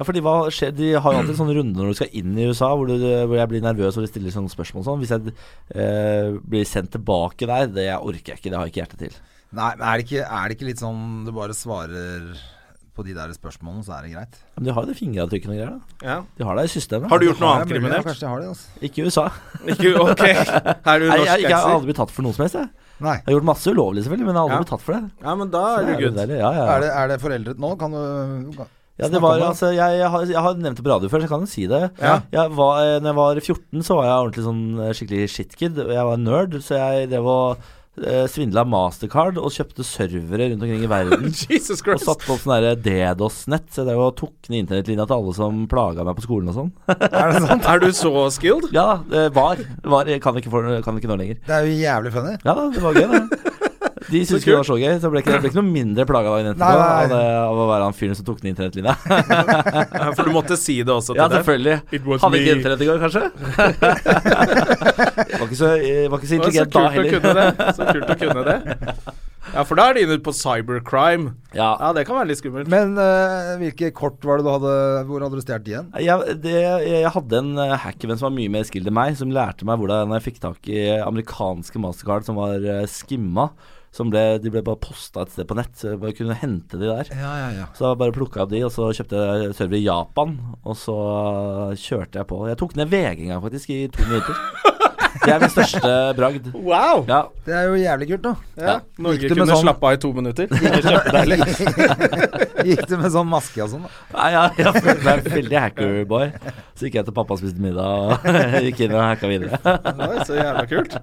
C: Ja, fordi hva skjer De har jo alltid en sånn runde når du skal inn i USA, hvor, du, hvor jeg blir nervøs og de stiller sånne spørsmål og sånn. Hvis jeg eh, blir sendt tilbake der, det orker jeg ikke. Det har jeg ikke hjerte til.
B: Nei, men er det, ikke, er det ikke litt sånn du bare svarer på de der spørsmålene, så er det greit?
C: Men de har jo de fingeravtrykkene og greier, da.
A: Ja.
C: De har det i systemet.
A: Har du gjort noe
B: Ja,
A: annet
B: mulig, ja,
A: kriminelt?
B: Kanskje de har det, altså.
C: Ikke i USA.
A: Ikke, ok, er du
C: Nei, jeg,
A: norsk
C: jeg, jeg har
A: gangster?
C: aldri blitt tatt for noe som helst, jeg.
B: Nei.
C: Jeg har gjort masse ulovlig, selvfølgelig, men jeg har aldri
A: Ja.
C: blitt tatt for det.
A: Ja, men da er du
C: Så
A: good.
C: det deilig. Ja, ja,
B: Er
C: ja.
B: det, er det foreldret nå? Kan du
C: ja,
B: snakke
C: det
B: om
C: var altså jeg, jeg, har, jeg har nevnt det på radio før, så jeg kan jo si det.
A: Ja.
C: Jeg var, eh, når jeg var 14, så var jeg ordentlig sånn eh, skikkelig shitkid. og Jeg var nerd, så jeg drev og eh, svindla Mastercard og kjøpte servere rundt omkring i verden.
A: Jesus
C: Og
A: Christ.
C: satte opp sånn derre DDoS-nett. Så jeg drev og tok ned internettlinja til alle som plaga meg på skolen og sånn.
B: Er det sant?
A: Er du så skilled?
C: Ja, det var. var jeg kan, ikke for, kan ikke nå lenger.
B: Det er jo jævlig funny.
C: Ja, det var gøy, det. De syntes ikke det var så gøy, så jeg ble ikke, jeg ble ikke noe mindre plaga dagen etterpå
B: Nei, nei.
C: av, det- av å være han fyren som tok ned internettlinja.
A: Ja, For du måtte si det også
C: Ja,
A: til dem.
C: selvfølgelig.
A: It was
C: Hadde ikke
A: me.
C: internett i går, kanskje? var, ikke så, eh, var
A: Det var
C: ikke så
A: så
C: intelligent
A: kult
C: da
A: å
C: heller.
A: kunne det. Så kult å kunne det. Ja, for da er de inne på cybercrime.
C: Ja.
A: Ja, det kan være litt skummelt.
B: Men eh, hvilke kort var det du hadde Hvor hadde du stjålet de igjen?
C: Jeg, det, jeg hadde en eh, hackervenn som var mye mer skilled enn meg, som lærte meg hvordan jeg fikk tak i eh, amerikanske mastercard som var eh, skimma. Som ble, de ble bare posta et sted på nett, så jeg bare kunne hente de der.
B: Ja, ja, ja.
C: Så da bare plukka jeg opp de, og så kjøpte jeg server i Japan. Og så kjørte jeg på. Jeg tok ned VG en gang, faktisk, i to minutter. Det er min største bragd.
A: Wow!
C: Ja,
B: Det er jo jævlig kult, da.
A: Ja, Norge
B: Gikk du med
A: kunne
B: sånn?
A: slappe av i to minutter.
B: Gikk du med sånn maske og sånn, da?
C: Nei, ja, jeg følte meg veldig hackerboy. Så gikk jeg til pappa og spiste middag, og gikk inn og hacka videre.
A: Oi, så jævla kult.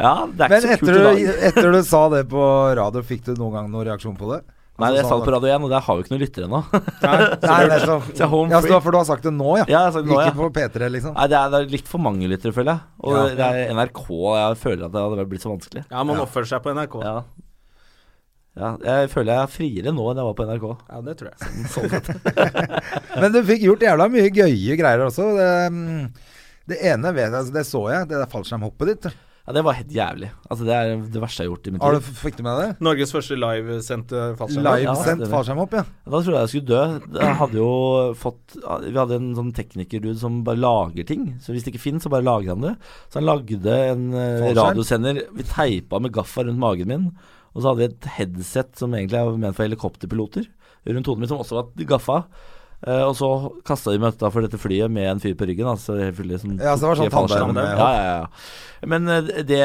C: Ja, det er
B: Men
C: ikke så kult
B: etter
C: i
B: du,
C: dag.
B: etter du sa det på radio, fikk du noen gang noen reaksjon på det?
C: Nei,
B: Altså,
C: jeg sa
B: sånn
C: det på
B: at-
C: radio igjen, og der har vi ikke noen lyttere ennå.
B: Nei, det er så,
C: Så jeg er home
B: ja,
C: free.
B: så, for du har sagt det nå, ja?
C: Ja, jeg har sagt det nå,
B: Ikke
C: ja.
B: på P3, liksom?
C: Nei, det er, det er litt for mange lyttere, føler jeg. Og
B: Ja.
C: det er NRK Jeg føler at det hadde blitt så vanskelig.
A: Ja, man oppfører seg på NRK.
C: Ja. ja. Jeg føler jeg er friere nå enn jeg var på NRK.
A: Ja, det tror jeg.
C: Sånn sett.
B: Men du fikk gjort jævla mye gøye greier også. Det, mm, det ene vet jeg, altså, det så jeg, det der fallskjermhoppet ditt.
C: Ja, det var helt jævlig. Altså, det er det verste jeg har gjort i mitt
B: Har du,
C: liv.
B: fikk du med det?
A: Norges første livesendte fallskjerm.
C: Live.
B: Livesendt
C: stemmer.
B: fallskjermhopp, ja.
C: Da trodde jeg jeg skulle dø. Jeg hadde jo fått Vi hadde en sånn teknikerdude som bare lager ting. Så hvis det ikke fins, så bare lager han det. Så han lagde en eh,
B: Fallskjerm?
C: radiosender. Vi teipa med gaffa rundt magen min. Og så hadde vi et headset som egentlig er ment for helikopterpiloter, rundt hodet mitt, som også var gaffa. Eh, og så kasta de meg utafor dette flyet med en fyr på ryggen. Altså, selvfølgelig, som
B: Ja, så det var
C: tok i
B: sånn tannbørn
C: fallskjerm.
B: med-
C: Ja, ja, ja. Men eh, det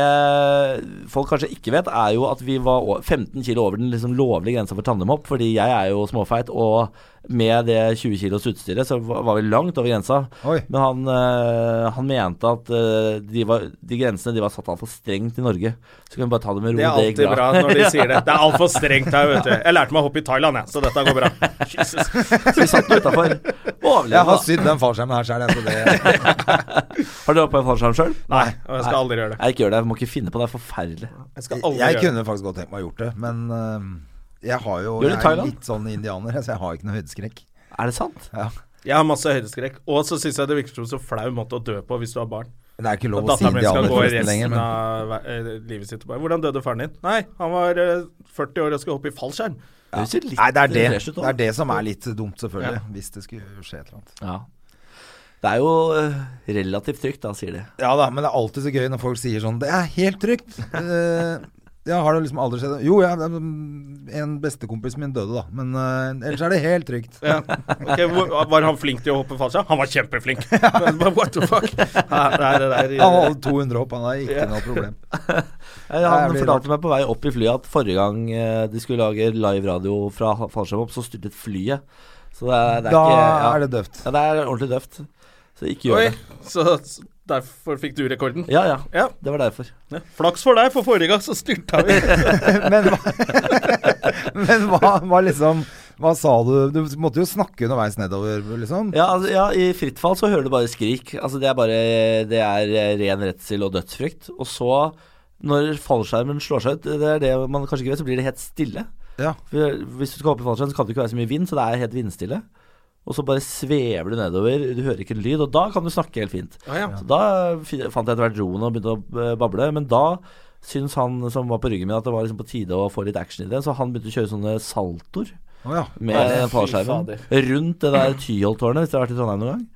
C: folk kanskje ikke vet, er jo at vi var å- 15 kilo over den liksom lovlige grensa for tandemhopp. Fordi jeg er jo småfeit, og med det 20 kilos utstyret så var var vi langt over grensa.
B: Oi.
C: Men han, eh, han mente at eh, de, var, de grensene de var satt altfor strengt i Norge. Så kan vi bare ta det med ro.
A: Det er
C: gikk
A: alltid bra når de sier det. Det er altfor strengt her, vet du. Jeg lærte meg å hoppe i Thailand, jeg, så dette går bra. Jesus.
C: Så vi satt utafor. Overlevde.
B: Jeg har
C: da.
B: sydd den fallskjermen her sjøl, jeg. Så det
C: Har dere hoppa i fallskjerm sjøl?
A: Nei, og jeg skal aldri gjøre det.
C: Nei, ikke gjør det. Jeg må ikke finne på det. Det er forferdelig.
A: Jeg skal aldri
B: Jeg
A: gjøre det.
B: kunne faktisk godt tenkt meg å gjort det, men eh, jeg har jo
C: Gjør du
B: Jeg er
C: Thailand?
B: litt sånn indianer, så jeg har ikke noe høydeskrekk.
C: Er det sant?
B: Ja.
A: Jeg har masse høydeskrekk. Og så syns jeg det virker som så flau måte å dø på hvis du har barn.
B: Det er ikke
A: At
B: lov å si
A: datteren min skal
B: indianer
A: gå
B: forresten lenger,
A: resten
B: men
A: av ve- eh, livet sitt og bare Hvordan døde faren din? Nei, han var eh, 40 år og skulle hoppe i fallskjerm.
C: Det høres jo litt
B: Nei, det er det.
C: fresh ut, da.
B: Det er det som er litt dumt, selvfølgelig. Hvis det skulle skje et eller annet.
C: Ja. Det er jo eh, relativt trygt, da, sier de.
B: Ja da, men det er alltid så gøy når folk sier sånn Det er helt trygt. Eh, ja, har det liksom aldri skjedd Jo, ja, det- en bestekompis min døde, da. Men eh, ellers er det helt trygt.
A: Ja. Ok, hvor- Var han flink til å hoppe fallskjerm? Han var kjempeflink! Men bare, What the fuck? Nei, nei, det der,
B: Han hadde 200 hopp, han har ikke
A: Ja.
B: noe problem.
C: Eh,
B: Nei,
C: Han
B: det blir
C: fortalte meg på vei opp i flyet at forrige gang eh, de skulle lage live radio fra ha- fallskjerm opp, så styrtet flyet. Så det er, det er
B: Da
C: ikke ja.
B: er det døvt.
C: ja, det er ordentlig døvt. Så ikke gjør
A: Oi,
C: det.
A: så så derfor fikk du rekorden?
C: Ja, ja.
A: Ja.
C: Det var derfor.
A: Flaks for deg, for forrige gang så styrta vi.
B: Men, hva- men hva, hva liksom Hva sa du? Du måtte jo snakke underveis nedover, liksom.
C: Ja, altså, ja, i fritt fall så hører du bare skrik. Altså, det er bare Det er eh, ren redsel og dødsfrykt. Og så, når fallskjermen slår seg ut, det er det man kanskje ikke vet, så blir det helt stille.
B: Ja.
C: For hvis du skal hoppe i fallskjerm, så kan det ikke være så mye vind, så det er helt vindstille. Og så bare svever du nedover, du hører ikke en lyd, og da kan du snakke helt fint.
A: Ja, ja.
C: Så da fi- fant jeg etter hvert roen og begynte å eh, bable, men da syns han som var på ryggen min at det var liksom på tide å få litt action i det, så han begynte å kjøre sånne saltoer
B: Å ja.
C: med
A: Nei,
C: den
A: fy
C: fallskjermen. Rundt det der Tyholttårnet, hvis du har vært i Trondheim noen gang.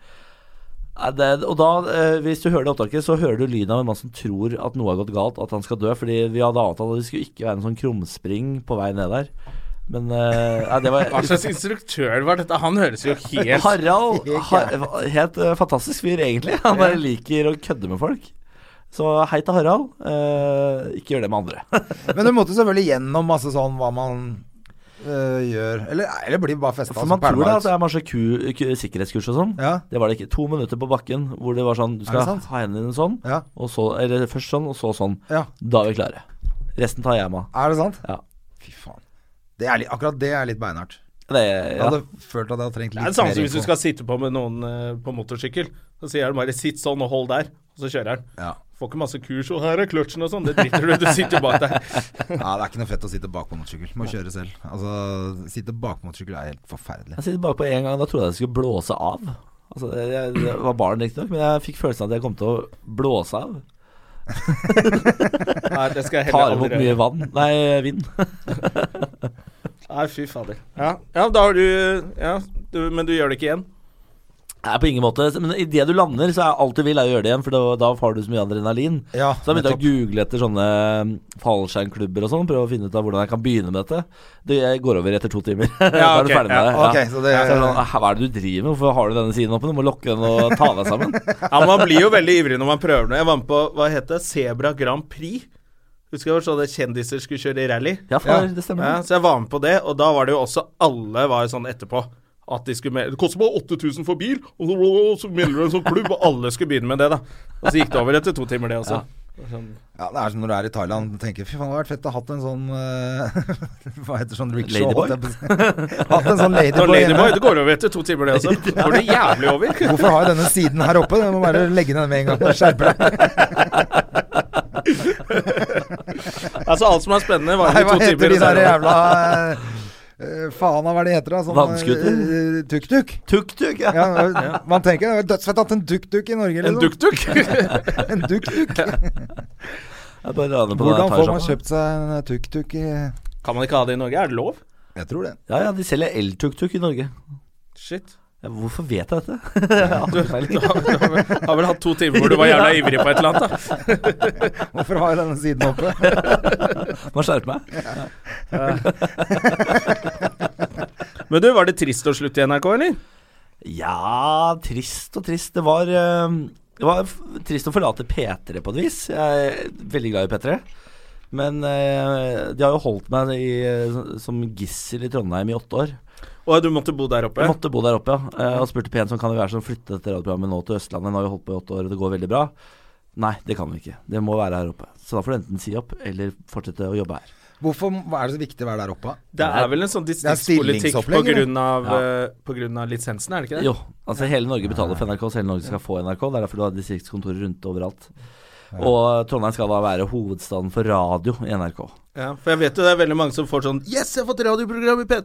C: Nei, Det, og da, eh, hvis du hører det opptaket, så hører du lyden av en mann som tror at noe har gått galt, at han skal dø. Fordi vi hadde avtalt at det skulle ikke være en sånn krumspring på vei ned der. Men eh, nei, det var
A: Hva slags instruktør var dette? Han høres jo helt
C: Harald har, Helt eh, fantastisk fyr, egentlig. Han bare liker å kødde med folk. Så hei til Harald. Eh, ikke gjør det med andre.
B: Men du måtte selvfølgelig gjennom masse sånn hva man øh, gjør Eller, eller blir bare festa.
C: For man tror da at det er masse ku, ku, sikkerhetskurs og sånn.
B: Ja.
C: Det var det ikke. To minutter på bakken hvor det var sånn Du
B: det
C: skal
B: sant?
C: ha hendene dine sånn,
B: Ja.
C: og så, eller først sånn, og så sånn.
B: ja.
C: Da er vi klare. Resten tar jeg meg av.
B: Er det sant?
C: Ja.
B: Fy faen. Det er, litt- akkurat det er litt beinhardt.
C: Det,
B: Jeg
C: ja.
B: hadde følt at jeg hadde trengt
A: Det er
B: litt
A: det samme
B: mer
A: som hvis du
B: info.
A: skal sitte på med noen eh, på motorsykkel. Så sier han bare 'sitt sånn og hold der', og så kjører han.
B: ja.
A: Får ikke masse kurs, og her er kløtsjen og sånn. Det driter du i, du sitter jo bak der.
B: ja, det er ikke noe fett å sitte bak på motorsykkel. Må kjøre selv. Altså, sitte bak på motorsykkel er helt forferdelig.
C: Jeg sitter bakpå én gang, da trodde jeg det skulle blåse av. Altså, det- jeg, det var barn riktignok, men jeg fikk følelsen av at jeg kom til å blåse av.
A: Nei, det skal jeg
C: Tar
A: heller
C: imot
A: aldri
C: mye
A: gjøre.
C: vann. Nei, vind.
A: Nei, fy fader. Ja. ja, da har du Ja, du, men du gjør det ikke igjen?
C: Nei, på ingen måte. Men idet du lander, så er alt du vil, er å gjøre det igjen, for da, da får du så mye adrenalin.
B: Ja,
C: Så da begynte jeg
B: nettopp.
C: å google etter sånne mm, fallskjermklubber og sånn, prøve å finne ut av hvordan jeg kan begynne med dette. Det går over etter to timer. da
A: Ja,
C: er du
A: ok,
C: ferdig med
A: ja,
C: det.
B: ok, så det-
C: er jeg sånn, «Hæ, Hva er det du driver med? Hvorfor har du denne siden oppe? Du må lokke den og ta deg sammen.
A: Ja, Man blir jo veldig ivrig når man prøver noe. Jeg var med på hva het det? Sebra Grand Prix. Husker du sånn at kjendiser skulle kjøre i rally?
C: Ja, far,
B: Ja.
C: det stemmer.
A: Ja, så jeg var med på det, og da var det jo også alle var jo sånn etterpå. At de skulle med, Det koster bare 8000 for bil, og så, og så melder du en sånn klubb, og alle skulle begynne med det, da. Og så gikk det over etter to timer, det også. Sånn,
B: Ja, det er som når du er i Thailand og tenker fy faen, det hadde vært fett å ha hatt en sånn øh, Hva heter sånn rickshaw?
C: Ladyboy?
B: holdt jeg på å si. hatt en sånn
A: Så
B: ladyboy.
A: Ladyboy,
B: hjemme.
A: det går over etter to timer, det også. Går det jævlig over?
B: Hvorfor har jeg denne siden her oppe? Du må bare legge den med en gang. Skjerpe deg.
A: Altså, alt som er spennende, varer
B: Nei,
A: i
B: hva
A: to
B: heter
A: timer.
B: de
A: og så er det
B: der
A: over.
B: jævla øh, Faen av hva de heter, da? Sånn,
C: Vannskuter?
B: øh, Tuk-tuk?
C: Tuk-tuk, ja.
B: Ja, man tenker det er dødsfett at en tuk-tuk i Norge,
A: En
B: liksom.
A: tuk-tuk?
B: En tuk-tuk.
C: Jeg bare raner på
B: Hvordan
C: den
B: får man
C: Thai-sjappa.
B: kjøpt seg en eh, tuk-tuk i Jeg
A: Kan man ikke ha det i Norge? Er det lov?
B: tror det.
C: Ja, ja, de selger el-tuk-tuk i Norge.
A: Shit.
C: Ja, hvorfor vet jeg dette? Jeg har
A: Du,
C: aldri peiling.
A: du, har, du har vel- har vel hatt to timer hvor du var jævla ivrig på et eller annet, da.
B: Hvorfor har jeg denne siden oppe?
C: Må skjerpe meg.
A: Men du, var det trist å slutte i NRK, eller?
C: Ja, trist og trist. Det var, eh, det var f- trist å forlate P3 på et vis. Jeg er veldig glad i P3. Men eh, de har jo holdt meg i, eh, som gissel i Trondheim i åtte år.
A: Og du måtte bo der oppe?
C: Jeg måtte bo der oppe, ja. Eh, Og spurte pent om kan det være sånn flytte dette radioprogrammet nå til Østlandet. Nå har vi holdt på i åtte år, og det går veldig bra. Nei, det kan vi ikke. Det må være her oppe. Så da får du enten si opp, eller fortsette å jobbe her.
B: Hvorfor hva er det så viktig å være der oppe?
A: Det er vel en sånn
B: er
A: distriktspolitikk på
B: stillingsopplegg,
A: grunn av,
C: Ja.
A: eh, på grunn av lisensen, er det ikke det?
C: Jo, altså hele Norge betaler for NRK, så hele Norge skal få NRK. Det er derfor du har distriktskontorer rundt overalt. Og Trondheim skal da være hovedstaden for radio i NRK.
A: Ja, for jeg vet jo det er veldig mange som får sånn Yes, jeg har fått radioprogram i P3!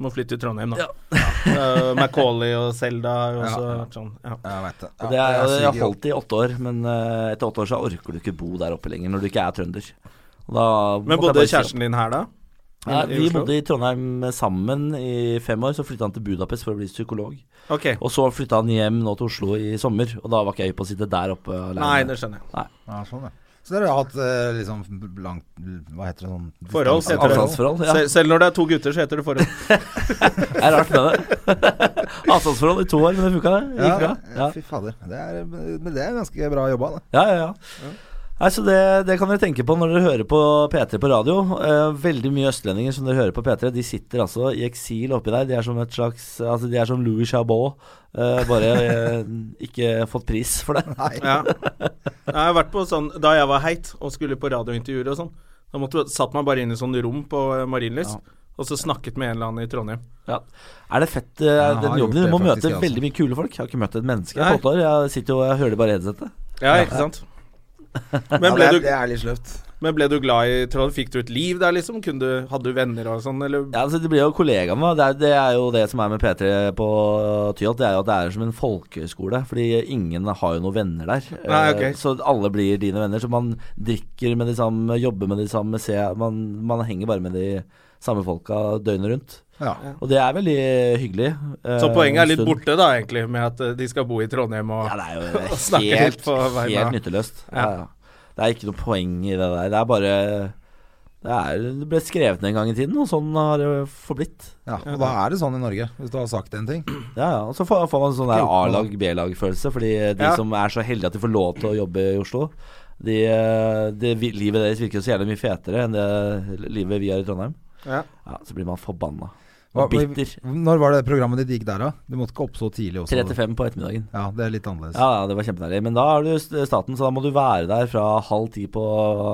A: Må flytte til Trondheim, da. Ja. Macauley og Selda og
B: Ja.
A: så, sånn. Ja.
B: Jeg vet det.
C: Og det
B: Ja,
C: er,
B: jeg
C: og jeg har
B: suger opp.
C: holdt det i åtte år, men eh, etter åtte år så orker du ikke bo der oppe lenger når du ikke er trønder. Og da
A: Men
C: måtte jeg
A: bodde
C: bare si opp.
A: kjæresten din her, da?
C: Nei,
A: I
C: vi
A: Oslo?
C: bodde i Trondheim sammen i fem år, så flytta han til Budapest for å bli psykolog.
A: Ok.
C: Og så flytta han hjem nå til Oslo i sommer, og da var ikke jeg hypp på å sitte der oppe alene.
A: Nei, det skjønner jeg.
B: Ja, sånn, ja. Så dere har hatt eh, liksom langt Hva heter det sånn
A: Forhold,
B: distanse-
A: heter det.
B: avstandsforhold.
C: Avstandsforhold, ja.
A: Sel- Selv når det er to gutter, så heter det forhold.
C: Det er rart med det. Avstandsforhold i to år, men det funka, det. Gikk bra.
B: Ja, ja,
C: Ja,
B: fy fader. Det er, men det er ganske bra jobba, det.
C: ja, ja. ja. Nei, så det, det kan dere tenke på når dere hører på P3 på radio. Eh, veldig mye østlendinger som dere hører på P3, de sitter altså i eksil oppi der. De er som et slags Altså, de er som Louis Chabot, eh, bare eh, ikke fått pris for det.
A: Ja. Jeg har vært på sånn Da jeg var heit og skulle på radiointervjuer og sånn, da måtte, satt man bare inn i sånn rom på eh, Marienlyst, og så snakket med en eller annen i Trondheim.
C: Ja. Er det fett, eh,
B: Jeg har
C: den jobben
B: gjort
C: din? Du
B: det
C: må
B: faktisk, altså.
C: møte
B: jeg også.
C: veldig mye kule folk. Jeg har ikke møtt et menneske
A: Nei.
C: på åtte år. Jeg sitter jo og hører det bare i headsetet.
A: Ja, ikke sant? Men
B: Ja,
A: ble,
B: det, er,
A: du,
B: det er litt sløvt.
A: men ble du glad i Trondheim? Fikk du et liv der, liksom? Kunne du, hadde du venner og sånn, eller?
C: Ja, altså, det blir jo kollegaene, da. Det er, det er jo det som er med P3 på Tyholt. Det er jo at det er som en folkehøyskole, fordi ingen har jo noen venner der.
A: Nei,
C: Eh,
A: ok.
C: Så alle blir dine venner. Så man drikker med de samme, jobber med de samme, ser, man, man henger bare med de samme folka døgnet rundt.
B: Ja.
C: Og det er veldig hyggelig. eh,
A: Så poenget
C: en
A: er litt
C: stund.
A: borte, da, egentlig, med at eh, de skal bo i Trondheim og
C: Ja, det er jo
A: Å snakke
C: helt,
A: litt på vegne av-
C: helt nytteløst. Ja.
A: Ja.
C: Ja. Det er ikke noe poeng i det der. Det er bare det, er, det ble skrevet ned en gang i tiden, og sånn har det forblitt.
B: Ja, og da er det sånn i Norge, hvis du har sagt en ting.
C: Ja, ja. Og så får, får man sånn der A-lag, B-lag-følelse, fordi de
A: Ja.
C: som er så heldige at de får lov til å jobbe i Oslo de, eh, det vi- Livet deres virker jo så jævlig mye fetere enn det livet vi har i Trondheim.
A: Ja.
C: Ja, så blir man forbanna.
B: Hva- Altså-
C: Og bitter.
B: Når var det programmet ditt gikk der, da? Du måtte ikke opp så tidlig også.
C: 3 til 5 på ettermiddagen.
B: Ja, det er litt annerledes.
C: Ja, ja, det var kjempedeilig. Men da er du st- staten, så da må du være der fra halv ti på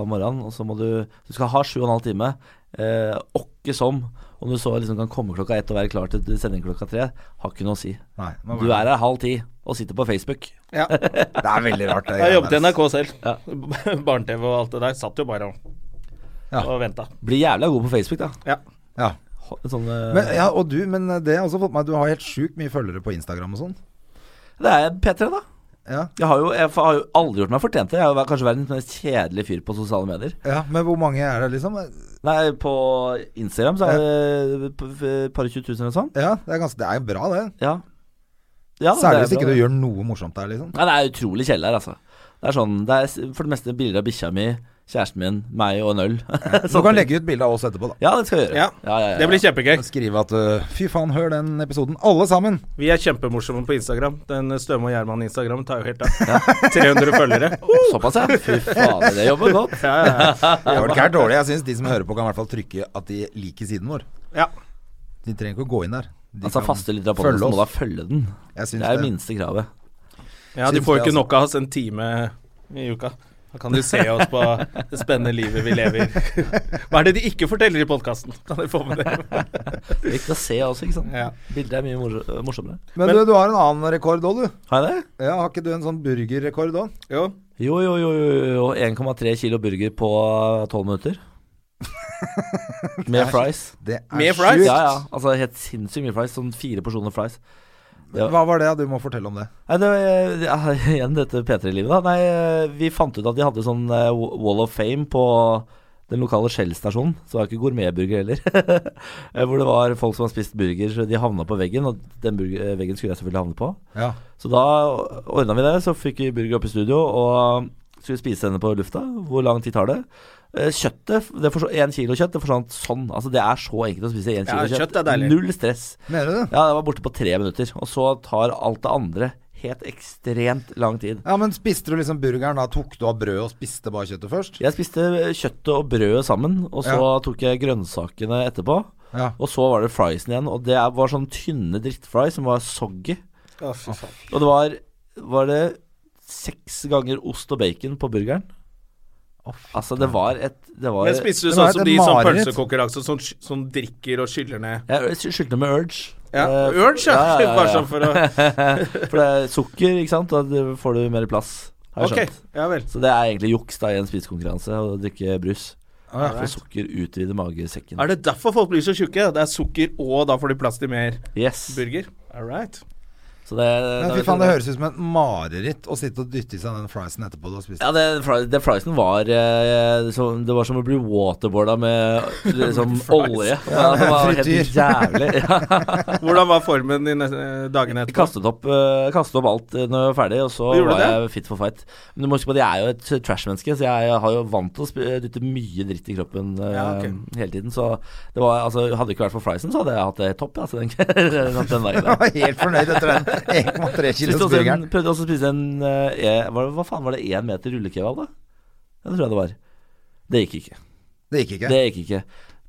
C: morgenen. Og så må du Du skal ha sju og en halv time. Eh, åkke som. Om du så liksom kan komme klokka ett og være klar til sending klokka tre, har ikke noe å si.
B: Nei, nå
C: Du
B: var
C: er her halv ti og sitter på Facebook.
A: Ja.
B: det- det er veldig rart. det
A: Jeg jobbet i
B: greiene
A: NRK selv.
C: Ja.
A: Barne-TV og alt det der. Satt jo bare og,
B: Ja.
A: og venta.
C: Blir jævla god på Facebook, da.
A: Ja.
B: der. Ja.
C: Ho- Sånn, eh,
B: Men, ja, og du, men det har også fått meg Du har helt sjukt mye følgere på Instagram og sånn.
C: Det er P3, da.
B: Ja.
C: Jeg har, jo, jeg har jo aldri gjort meg fortjent til det. Jeg har vært- kanskje verdens mest kjedelige fyr på sosiale medier.
B: ja, men hvor mange er det, liksom?
C: Nei, på Instagram så er det p- p- par og tjue tusen eller sånn.
B: Ja, det er, ganske, det er jo bra, det.
C: Ja. Ja, det
B: Særlig
C: er
B: hvis
C: bra,
B: ikke
C: det.
B: du gjør noe morsomt der, liksom.
C: Nei, det er utrolig kjedelig her, altså. Det er sånn, det er s- for det meste bilder av bikkja mi, kjæresten min, meg og en øl.
B: Du kan legge ut bilde av oss etterpå, da.
C: Ja, det skal jeg gjøre.
A: Ja,
C: ja, ja, ja.
A: Det blir kjempegøy.
B: Skrive at øh, Fy faen, hør den episoden, alle sammen!
A: Vi er kjempemorsomme på Instagram. Den Støme og Gjerman-Instagram tar jo helt av. 300 følgere.
C: Såpass, ja. Fy fader, det jobber godt.
A: Ja, ja, ja.
B: Det var ikke her dårlig. Jeg syns de som hører på, kan i hvert fall trykke at de liker siden vår.
A: ja.
B: De trenger ikke å gå inn der. De
C: Altså,
B: kan
C: faste lyttere på den,
B: følge
C: så må da
B: oss.
C: følge den.
B: Jeg
C: Det
B: syns
C: er det
B: det.
C: minste kravet.
A: ja de
B: Syns
A: får jo
B: det, altså.
A: ikke nok av oss en time i uka. Da kan de se oss på det spennende livet vi lever. Hva er det de ikke forteller i podkasten? Kan de få med det?
C: Det er viktig å se også, ikke sant.
A: Ja.
C: Bilder er mye mor morsommere.
B: Men du, du har en annen rekord òg, du.
C: Har jeg det?
B: Ja, har ikke du en sånn burgerrekord òg?
A: Jo.
C: Jo, jo, jo. jo, jo. 1,3 kilo burger på 12 minutter. Med fries.
B: Det er
A: Med fries?
B: sjukt.
C: Ja, ja. Altså helt sinnssykt mye fries. Sånn fire porsjoner fries. Ja.
B: Hva var det? Du må fortelle om det.
C: Nei, det var, ja, igjen dette P3-livet, da. Nei, vi fant ut at de hadde sånn eh, Wall of Fame på den lokale Shell-stasjonen. Så det var ikke gourmetburger heller. Eh, Hvor det var folk som har spist burger, så de havna på veggen. Og den burger, eh, veggen skulle jeg selvfølgelig havne på.
B: Ja.
C: Så da ordna vi det. Så fikk vi burger opp i studio, og Skulle spise denne på lufta. Hvor lang tid tar det? Eh, Kjøttet, det forsv- en kilo kjøtt, det forsvant sånn. Altså Det er så enkelt å spise én
A: Ja,
C: kilo kjøtt.
A: kjøtt er deilig.
C: Null stress.
B: Mener du det?
C: Ja, det var borte på tre minutter. Og så tar alt det andre helt ekstremt lang tid.
B: Ja, men spiste du liksom burgeren da? Tok du av brødet og spiste bare kjøttet først?
C: Jeg spiste kjøttet og brødet sammen, og så
B: Ja.
C: tok jeg grønnsakene etterpå.
B: Ja.
C: Og så var det friesen igjen, og det er- var sånn tynne drittfries som var soggy.
A: Å, fy faen.
C: Og det var, var det seks ganger ost og bacon på burgeren. Altså, det var et det var,
A: Men spiser du
B: Det var
A: sånn
B: et
A: som de som
B: mareritt.
A: pølsekonkurranse, som, som drikker og skyller ned
C: Jeg skyldte med urge.
A: Ja,
C: Eh,
A: Urge, ja.
C: ja, ja, ja.
A: Bare sånn for å
C: For det er sukker, ikke sant, da får du mer plass. Har jeg
A: Ok,
C: skjønt.
A: ja vel.
C: Så det er egentlig juks da i en spisekonkurranse å drikke brus.
B: Ja,
C: For sukker utvider magesekken.
A: Er det derfor folk blir så tjukke? Det er sukker, og da får de plass til mer
C: Yes.
A: burger. All right.
C: Så det,
B: Men fy faen, det høres ut som et mareritt å sitte og dytte i seg den friesen etterpå du har spist.
C: Ja, det, fri- det friesen var eh, som, Det var som å bli waterboarda med liksom olje. Ja, det var helt
B: frityr.
C: jævlig. Ja.
A: Hvordan var formen din eh, dagene
C: Jeg
A: etterpå?
C: kastet opp, eh, kastet opp alt eh, når jeg var ferdig, og så
A: Du gjorde
C: var jeg fit for fight. Men du må huske på at jeg er jo et eh, trash-menneske, så jeg har jo vant til å sp- eh, dytte mye dritt i kroppen eh,
A: Ja, ok.
C: hele tiden. Så det var, altså, hadde det ikke vært for friesen, så hadde jeg hatt det topp. Altså, den, den dagen
B: Jeg
C: der.
B: var helt fornøyd etter den 1,3
C: Spiste
B: kilos
C: også en,
B: burgeren.
C: prøvde også å spise en eh, eh, hva, hva faen var det, én meter rullekebab, da? Ja, Det tror jeg det var. Det gikk ikke.
B: Det gikk ikke.
C: Det gikk ikke.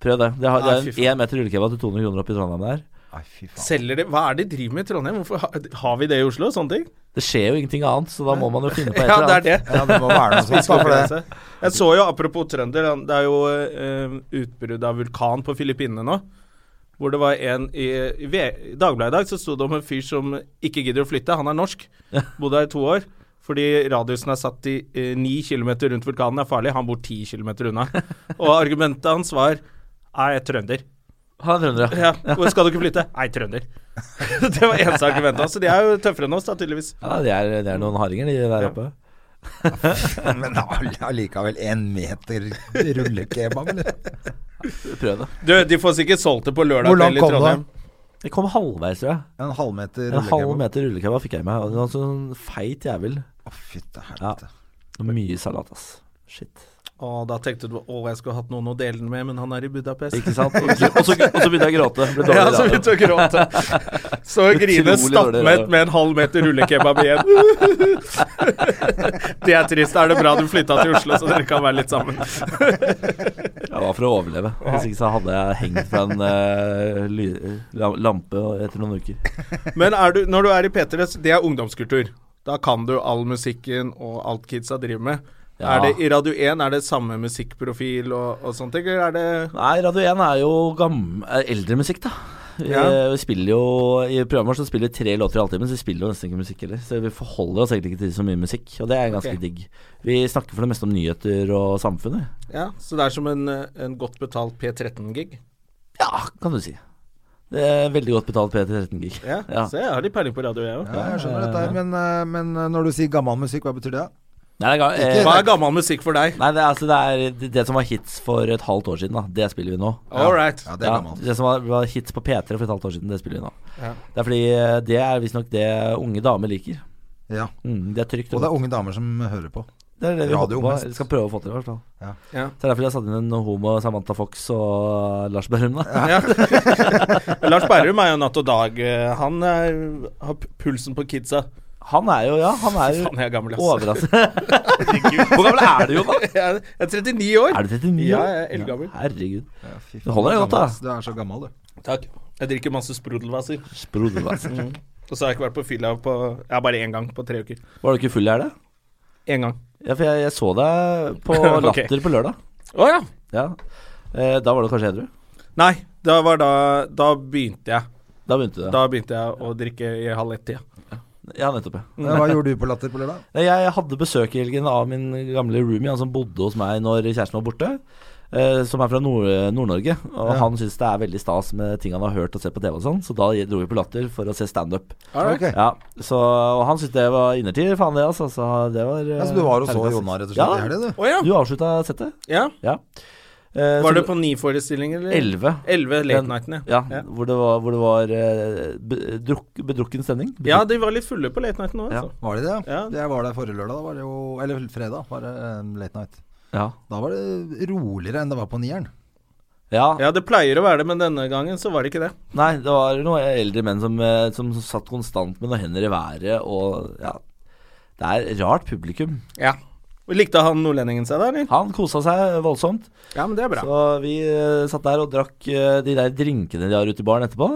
C: Prøv det. Det, har, det
A: Nei, fy
C: er
A: faen.
C: en én meter rullekebab til 200 kroner opp i Trondheim der.
B: Nei, fy faen.
A: Selger de, hva er det de driver med i Trondheim? Hvorfor har, har vi det i Oslo? Sånne ting?
C: Det skjer jo ingenting annet, så da må man jo finne på et
A: Ja,
C: eller
A: det
C: annet.
A: er det.
B: Ja, det må være noe sånt. da, for det.
A: Konkurranse. Jeg så jo, apropos trønder, han- det er jo eh, utbrudd av vulkan på Filippinene nå. Hvor det var en i, i V- i Dagbladet i dag, så sto det om en fyr som ikke gidder å flytte. Han er norsk, bodde her i to år. Fordi radiusen er satt til eh, ni kilometer rundt vulkanen er farlig. Han bor ti kilometer unna. Og argumentet hans var Nei, jeg er trønder.
C: Han er trønder, ja.
A: Ja, hvor skal du ikke flytte? Nei, trønder. det var eneste argumentet hans. Så de er jo tøffere enn oss, da, tydeligvis.
C: ja det, er, det er noen hardinger, de der
A: Ja.
C: oppe.
B: Men all- allikevel en meter rullekebab, eller?
C: Prøv det.
A: Du, de får sikkert solgt det på lørdag
B: Hvor
A: kveld
B: langt
A: i
B: kom du?
A: Trondheim.
C: Jeg kom halvveis, tror jeg.
B: En halvmeter
C: En halv
B: rullekebab.
C: meter rullekebab fikk jeg i meg. og det var En sånn feit jævel.
B: Å, fytte helvete.
C: Mye salat, ass. Shit.
A: Å, da tenkte du å, jeg skulle hatt noen å dele den med, men han er i Budapest.
C: Ikke sant? Og så, og så, og så begynte jeg å gråte. Ble dårlig
A: Ja, så
C: radio.
A: begynte å gråte. Så grine
C: Utrolig dårlig
A: stappmett
C: radio.
A: med en halv meter rullekebab igjen. Det er trist. Er det bra du flytta til Oslo, så dere kan være litt sammen?
C: Jeg var for å overleve. Hvis ikke så hadde jeg hengt fra en eh, ly- la- lampe etter noen uker.
A: Men er du, når du er i P3, så det er ungdomskultur. Da kan du all musikken og alt kidsa driver med.
C: Ja.
A: Er det I Radio 1 er det samme musikkprofil og, og sånt, eller er det
C: Nei, Radio 1 er jo gamm- eh, eldre musikk, da. Vi, eh,
A: Ja.
C: vi spiller jo I programmet vårt så spiller vi tre låter i halvtimen, så vi spiller jo nesten ikke musikk heller. Så vi forholder oss egentlig ikke til så mye musikk, og det er ganske
A: Ok.
C: digg. Vi snakker for det meste om nyheter og samfunnet.
A: Ja, så det er som en, eh, en godt betalt P13-gig.
C: Ja, kan du si. Det er veldig godt betalt P13-gig.
A: Ja,
C: Ja.
A: Så jeg har litt peiling på radio, jeg òg.
B: Ja, jeg skjønner dette her, men, eh, men eh, når du sier gammel musikk, hva betyr det?
C: Nei, det er, ga- eh,
A: Hva er gammel musikk for deg?
C: nei, det er, altså, det er det- det som var hits for et halvt år siden, da. Det spiller vi nå.
A: All right.
B: Ja, det er
C: Ja,
B: gammel.
C: det som var, var hits på P3 for et halvt år siden, det spiller vi nå.
A: Ja.
C: Det er fordi eh, det er visstnok det unge damer liker.
B: Ja.
C: Mm, det er trygt.
B: Og det er unge damer som hører på.
C: Det er det vi
B: Radio
C: håper på.
B: mest.
C: Eller skal prøve å få til, i hvert fall.
A: Ja.
C: Så det er derfor jeg satte inn en homo Samantha Fox og Lars Berrum, da.
A: Ja. Lars Berrum er jo natt og dag. eh, Han er, har p- pulsen på kidsa.
C: Han er jo, ja, han er jo
A: Faen, jeg er gammel, ass.
C: overraskende Hvor gammel er du, Jon? da?
A: Jeg er 39 år.
C: Er du 39 år?
A: Ja, jeg er eldgammel.
C: Herregud.
B: Det
C: Det holder deg godt, da.
B: Du er så gammel, du.
A: Takk. Jeg drikker masse sprudelwasser.
C: Sprodelass.
A: Og så har jeg ikke vært på fylla på Ja, bare én gang på tre uker.
C: Var du ikke full i helga?
A: Én gang.
C: Ja, for jeg, jeg så deg på
A: Ok.
C: Latter på lørdag.
A: Å ja.
C: Ja. Eh, da var du kanskje edru?
A: Nei, da var da Da begynte jeg.
C: Da begynte du?
A: Da begynte jeg å drikke i halv ett-tida.
C: Ja, nettopp. ja.
B: Ja, Hva gjorde du på Latter på lørdag?
C: Nei, Jeg hadde besøk i helgen av min gamle roomie, han som bodde hos meg når kjæresten var borte. eh, som er fra Nord- Nord-Norge. Og
B: Ja.
C: han syns det er veldig stas med ting han har hørt og sett på TV og sånn, så da dro vi på Latter for å se standup.
A: Alright.
B: Ok.
C: Ja, så- og han syntes det var innertier, faen det, altså. Så det var eh,
B: Ja, så du var og så
C: herregud.
B: Jonna rett og slett
C: Ja.
B: i helga, du?
A: Å ja.
C: Du avslutta settet?
A: ja.
C: Ja. Eh, Eh,
A: Var
C: så
A: det på ni forestillinger, eller?
C: 11?
A: Elleve late
C: Den-
A: nightene.
C: Ja,
A: Ja.
C: Hvor det var, hvor det var eh, be- druk, bedrukken stemning.
A: Ja, de var litt fulle på late nighten òg, altså.
B: Var det det?
A: Ja.
B: Jeg var der forrige lørdag, da var det jo Eller fredag, var det eh, late night.
C: Ja.
B: Da var det roligere enn det var på nieren.
C: ja.
A: Ja, det pleier å være det, men denne gangen så var det ikke det.
C: Nei, det var noen eldre menn som, eh, som satt konstant med noen hender i været og ja. Det er rart publikum.
A: Ja. Likte han nordlendingen seg da, eller?
C: Han kosa seg voldsomt.
A: Ja, men det er bra.
C: Så vi eh, satt der og drakk eh, de der drinkene de har ute i baren etterpå.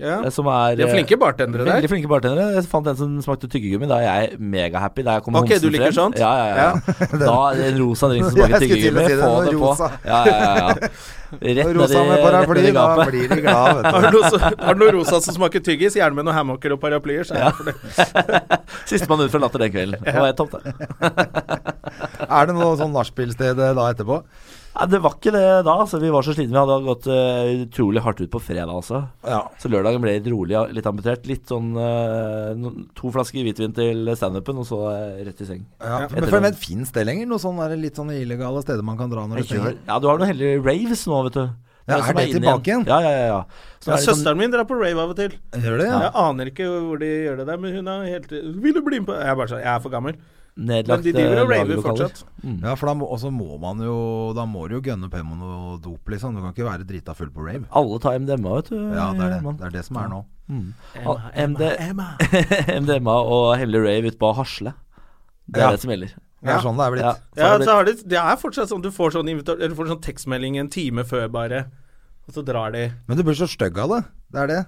A: Ja.
C: eh, Som er
A: De er
C: eh,
A: flinke bartendere der.
C: Veldig flinke bartendere. Jeg fant en som smakte tyggegummi. Da er jeg megahappy. Da kom
A: Ok,
C: homsen
A: du liker
C: frem.
A: sånt?
C: Ja, ja, ja. Da en rosa drink som
B: Jeg
C: smaker
B: skulle til å
C: tyggegummi.
B: si det,
C: Få
B: noe
C: det på.
B: rosa.
C: Ja, ja, ja, ja. Rett ned
B: Rosa med
C: i- rett ned
B: paraply,
C: i
B: da
C: gapet.
B: blir de glad, vet
A: Har du noe, så- har du noe rosa som smaker tyggis? Gjerne med noen hammocker og paraplyer. Så er jeg for det.
C: Sistemann ut fra latter den kvelden. Det var helt topp, det.
B: du. Er det noe sånn nachspiel-sted eh, da etterpå?
C: Nei, det var ikke det da. Altså, vi var så slitne. Vi hadde gått eh, utrolig hardt ut på fredag, altså.
B: Ja.
C: Så lørdagen ble litt rolig, ja, litt amputert. Litt sånn eh, no- To flasker hvitvin til standupen, og så eh, rett i seng.
B: Ja,
C: Etter
B: men for,
C: den.
B: men fins det lenger? Noen sånne der litt sånne illegale steder man kan dra når
C: Jeg
B: du trenger
C: gjør- Ja, du har noen heldige raves nå, vet du.
B: Ja, er
C: som
B: det
C: inne
B: tilbake igjen?
C: Ja, ja, ja. ja. Så
A: Ja,
C: er det sånn-
A: søsteren min drar på rave av og til.
B: Gjør det, ja.
A: Jeg aner ikke hvor de gjør det der, men hun er helt Vil du bli med på Jeg er bare sånn, jeg er for gammel. Men
C: Nedlagte
A: de driver og raver
C: liksom eh, lagerlokaler.
A: fortsatt.
C: Mm.
B: Ja, for da må, og så må man jo Da må du jo gønne på med noe dop, liksom. Du kan ikke være drita full på rave.
C: Alle tar MDMA, vet du.
B: Ja, det er det.
C: Gjerman.
B: Det er det som er nå.
C: Mm.
A: Emma,
C: Emma,
A: Emma, Emma.
C: MDMA og hemmelig rave ute på Hasle. Det er
B: Ja.
C: det som gjelder.
B: Det
A: Ja.
B: er sånn det er blitt.
C: Ja, så
A: Ja, altså-
C: er det
A: så har de, det er fortsatt sånn du får sånn, invita- eller får sånn tekstmelding en time før, bare. Og så drar de.
B: Men du blir så stygg av det. Det er det.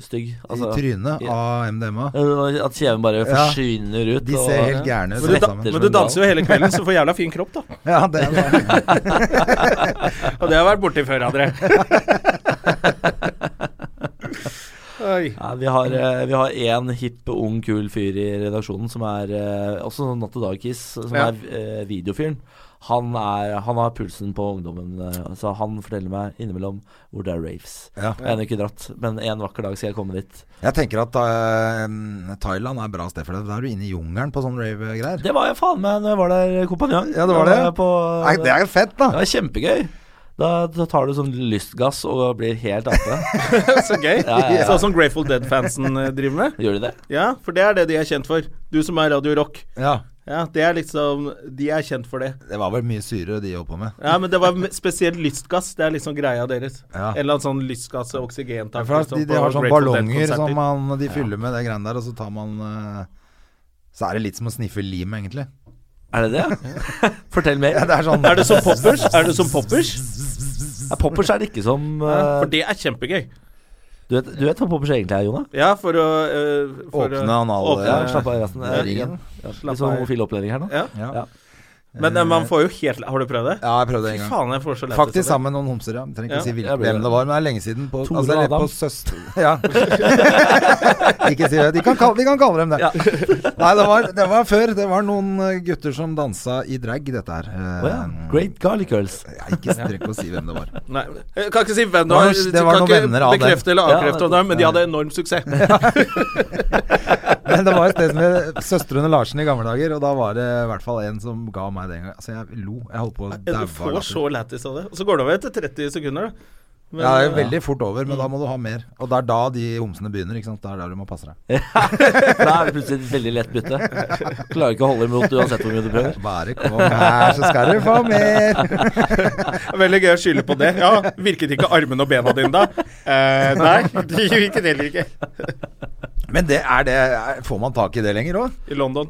C: stygg.
B: I
C: Altså,
B: trynet
C: ja.
B: av MDMA.
C: eh, at kjeven bare
B: Ja.
C: forsvinner ut.
B: De
C: og-
B: ser helt gærne ut
A: Men du,
B: alle
A: da,
B: sammen.
A: men du danser jo hele kvelden, så du får jævla fin kropp, da.
B: Ja, det er det.
A: Og det har jeg vært borti før av dere. Oi.
C: ja, vi har, eh, vi har en hipp, ung, kul fyr i redaksjonen som er eh, også sånn Natt og Dag-kiss, som
A: Ja.
C: er eh, videofyren. Han, er, han har pulsen på ungdommen, eh, så han forteller meg innimellom hvor det er raves.
B: Ja.
C: Jeg har ennå ikke dratt, men en vakker dag skal jeg komme dit.
B: Jeg tenker at eh, Thailand er et bra sted for det. Da er du inne i jungelen på sånn rave-greier.
C: Det var jeg faen meg når jeg var der, eh, kompanjong.
B: Ja, det var det.
C: Da jeg På,
B: Nei, det er jo fett, da!
C: det var kjempegøy. Da, da tar du sånn lystgass og blir helt ape.
A: Så gøy.
C: Ja, ja, ja.
A: Sånn som Grateful Dead-fansen eh, driver med.
C: Gjør du det?
A: Ja, for det er det de er kjent for. Du som er Radio Rock.
B: Ja.
A: Ja, det er liksom De er kjent for det.
B: Det var vel mye syre de holdt på med.
A: Ja, men det var me- spesielt lystgass. Det er liksom greia deres.
B: Ja.
A: En eller annen sånn lystgass og oksygentank.
B: For at
A: liksom,
B: de, de
A: på
B: har sånne
A: Grateful
B: ballonger
A: Dead-konserter.
B: som man, de fyller med det greiene der, og så tar man eh, Så er det litt som å sniffe lim, egentlig.
C: Er det det? Fortell mer.
B: Ja, det er sånn
A: Er det som poppers? Er det som poppers?
C: Ja, poppers er det ikke som eh,
A: For det er kjempegøy.
C: du, vet, du vet hva poppers egentlig er, Jonah?
A: Ja, for å eh, for
B: Åpne
A: å-
B: anal-
A: åpne-
B: Ja,
C: Ja, slapp av, Rasten.
B: det er
C: Ja,
B: ringen.
C: ja,
A: Slapp
C: Litt sånn
A: av.
C: homofil opplæring her nå.
A: Ja.
B: Ja.
C: Ja.
A: Men eh, man får jo helt Har du prøvd det?
B: ja, jeg prøvde en
A: Fy
B: gang.
A: faen, jeg får så lett
B: Faktisk sammen med noen homser, ja. Trenger ikke
A: Ja.
B: si
C: Ja,
B: hvil-
C: blir
B: hvem
C: det.
B: det var, men det er lenge siden. På,
C: Tore
B: altså,
C: og
B: eller
C: Adam.
B: på søster... Ja. ikke si det. De kan, kalle, de kan kalle dem det.
C: Ja.
B: Nei, det var, det var før. Det var noen eh, gutter som dansa i drag, dette her. Eh,
C: Å ja. Great Garlic Girls.
B: ja, Ikke strekk å si hvem det var.
A: Nei, jeg kan ikke si hvem
B: Det
A: det
B: var-
A: var.
B: det
A: Du
B: var
A: kan
B: noen
A: ikke
B: venner av dem.
A: Bekrefte eller
C: Ja,
A: avkrefte om det, men de hadde enorm suksess.
B: Men det var et sted som het Søstrene Larsen i gamle dager, og da var det i hvert fall en som ga meg det en gang. Altså, jeg lo. Jeg holdt på å daue
A: Du
B: av
A: får
B: latter.
A: så lættis av det. Og så går det over etter 30 sekunder, da. Men,
B: Ja, det er jo
A: eh,
B: veldig fort over, men da må du ha mer. Og det er da de homsene begynner, ikke sant. Det er der du må passe deg.
C: Da er det plutselig et veldig lett bytte. Klarer ikke å holde imot uansett hvor mye du prøver.
B: Bare kom her, så skal du få mer.
A: Veldig gøy å skylde på det. Ja, Virket ikke armene og bena dine da? Eh, nei, det virket heller ikke.
B: Men det er det er- Får man tak i det lenger òg?
A: I London.